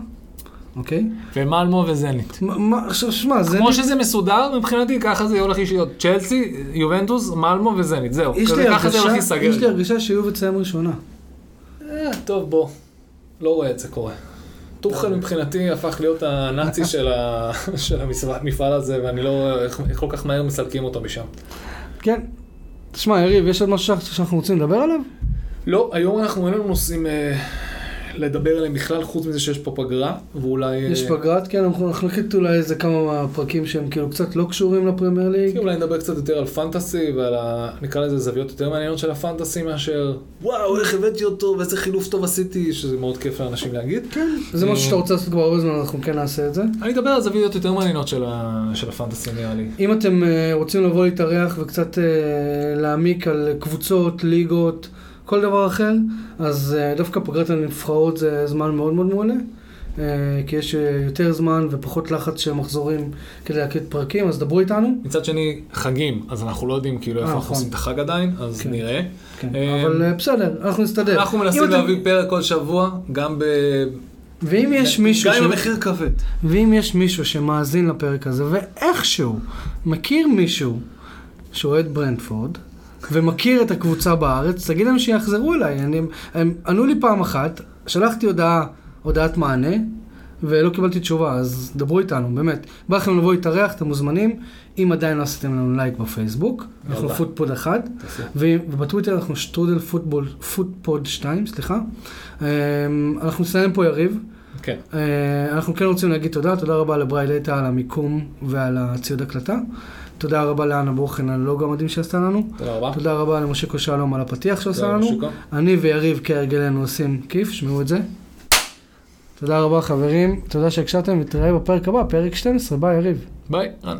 אוקיי? ומלמו וזנית. מה- מה- עכשיו שמע, זנית... כמו שזה מסודר, מבחינתי ככה זה הולך להיות צ'לסי, יובנטוס, מלמו וזנית, זהו. יש כזה- לי ככה זה הולך הרגשה, להיסגר. יש לי הרגשה שיובל תסיים ראשונה. אה, טוב, בוא. לא רואה את זה קורה. טוחל מבחינתי הפך להיות (laughs) הנאצי של ה- של המפעל המפעל הזה, ואני לא רואה איך איך כל כך מהר מסלקים אותו משם. כן. תשמע, יריב, יש עוד משהו שאנחנו רוצים לדבר עליו? לא, היום אנחנו אין לנו נושאים אה, לדבר עליהם בכלל, חוץ מזה שיש פה פגרה, ואולי... יש אה, פגרת, כן, אנחנו אנחנו נקליט אולי איזה כמה פרקים שהם כאילו קצת לא קשורים לפרמייר ליג. כן, אולי נדבר קצת יותר על פנטסי ועל ה... נקרא לזה זוויות יותר מעניינות של הפנטסי מאשר וואו איך הבאתי אותו ואיזה חילוף טוב עשיתי שזה מאוד כיף לאנשים להגיד. כן, זה משהו שאתה רוצה לעשות כבר הרבה זמן, אנחנו כן נעשה את זה. אני אדבר על זוויות יותר מעניינות של, ה... של הפנטסי נראה לי. אם אתם אה, רוצים לבוא להתארח וקצת אה, להעמיק על קבוצות, ליגות, כל דבר אחר, אז אה, דווקא פגרת הנבחרות זה זמן מאוד מאוד מעולה. אה, כי יש אה, יותר זמן ופחות לחץ של מחזורים כדי להקליט פרקים, אז דברו איתנו. מצד שני חגים אז אנחנו לא יודעים כאילו אה, איפה אנחנו נכון. עושים את החג עדיין אז כן. נראה. כן. אה, אבל אה, בסדר, אנחנו נסתדר. אנחנו אם מנסים אתם- להביא פרק כל שבוע גם ב... ואם יש מישהו... גם ש- עם המחיר כבד. ואם יש מישהו שמאזין לפרק הזה ואיכשהו מכיר מישהו שאוהד ברנדפורד ומכיר את הקבוצה בארץ, תגיד להם שיחזרו אליי. אני, הם ענו לי פעם אחת, שלחתי הודעה, הודעת מענה, ולא קיבלתי תשובה, אז דברו איתנו, באמת. בא לכם לבוא להתארח, אתם מוזמנים. אם עדיין לא עשיתם לנו לייק בפייסבוק, אנחנו יאללה. פודפוד אחד, תעשו. ו- ובטוויטר אנחנו שטרודל פוטבול, פודפוד 2, סליחה. אמ, אנחנו נסיים פה יריב. כן. אה, אנחנו כן רוצים להגיד תודה, תודה רבה לברייל דאטה על המיקום ועל הציוד הקלטה. תודה רבה לאנה בוכן על הלוגו המדהים שעשתה לנו. תודה רבה. תודה רבה למושיקו שלום על הפתיח שעשה תודה, לנו. מושיקו. אני ויריב כהרגלנו עושים כיף, שמעו את זה. תודה רבה חברים, תודה שהקשבתם ותראה בפרק הבא, פרק 12, ביי יריב. ביי. רן.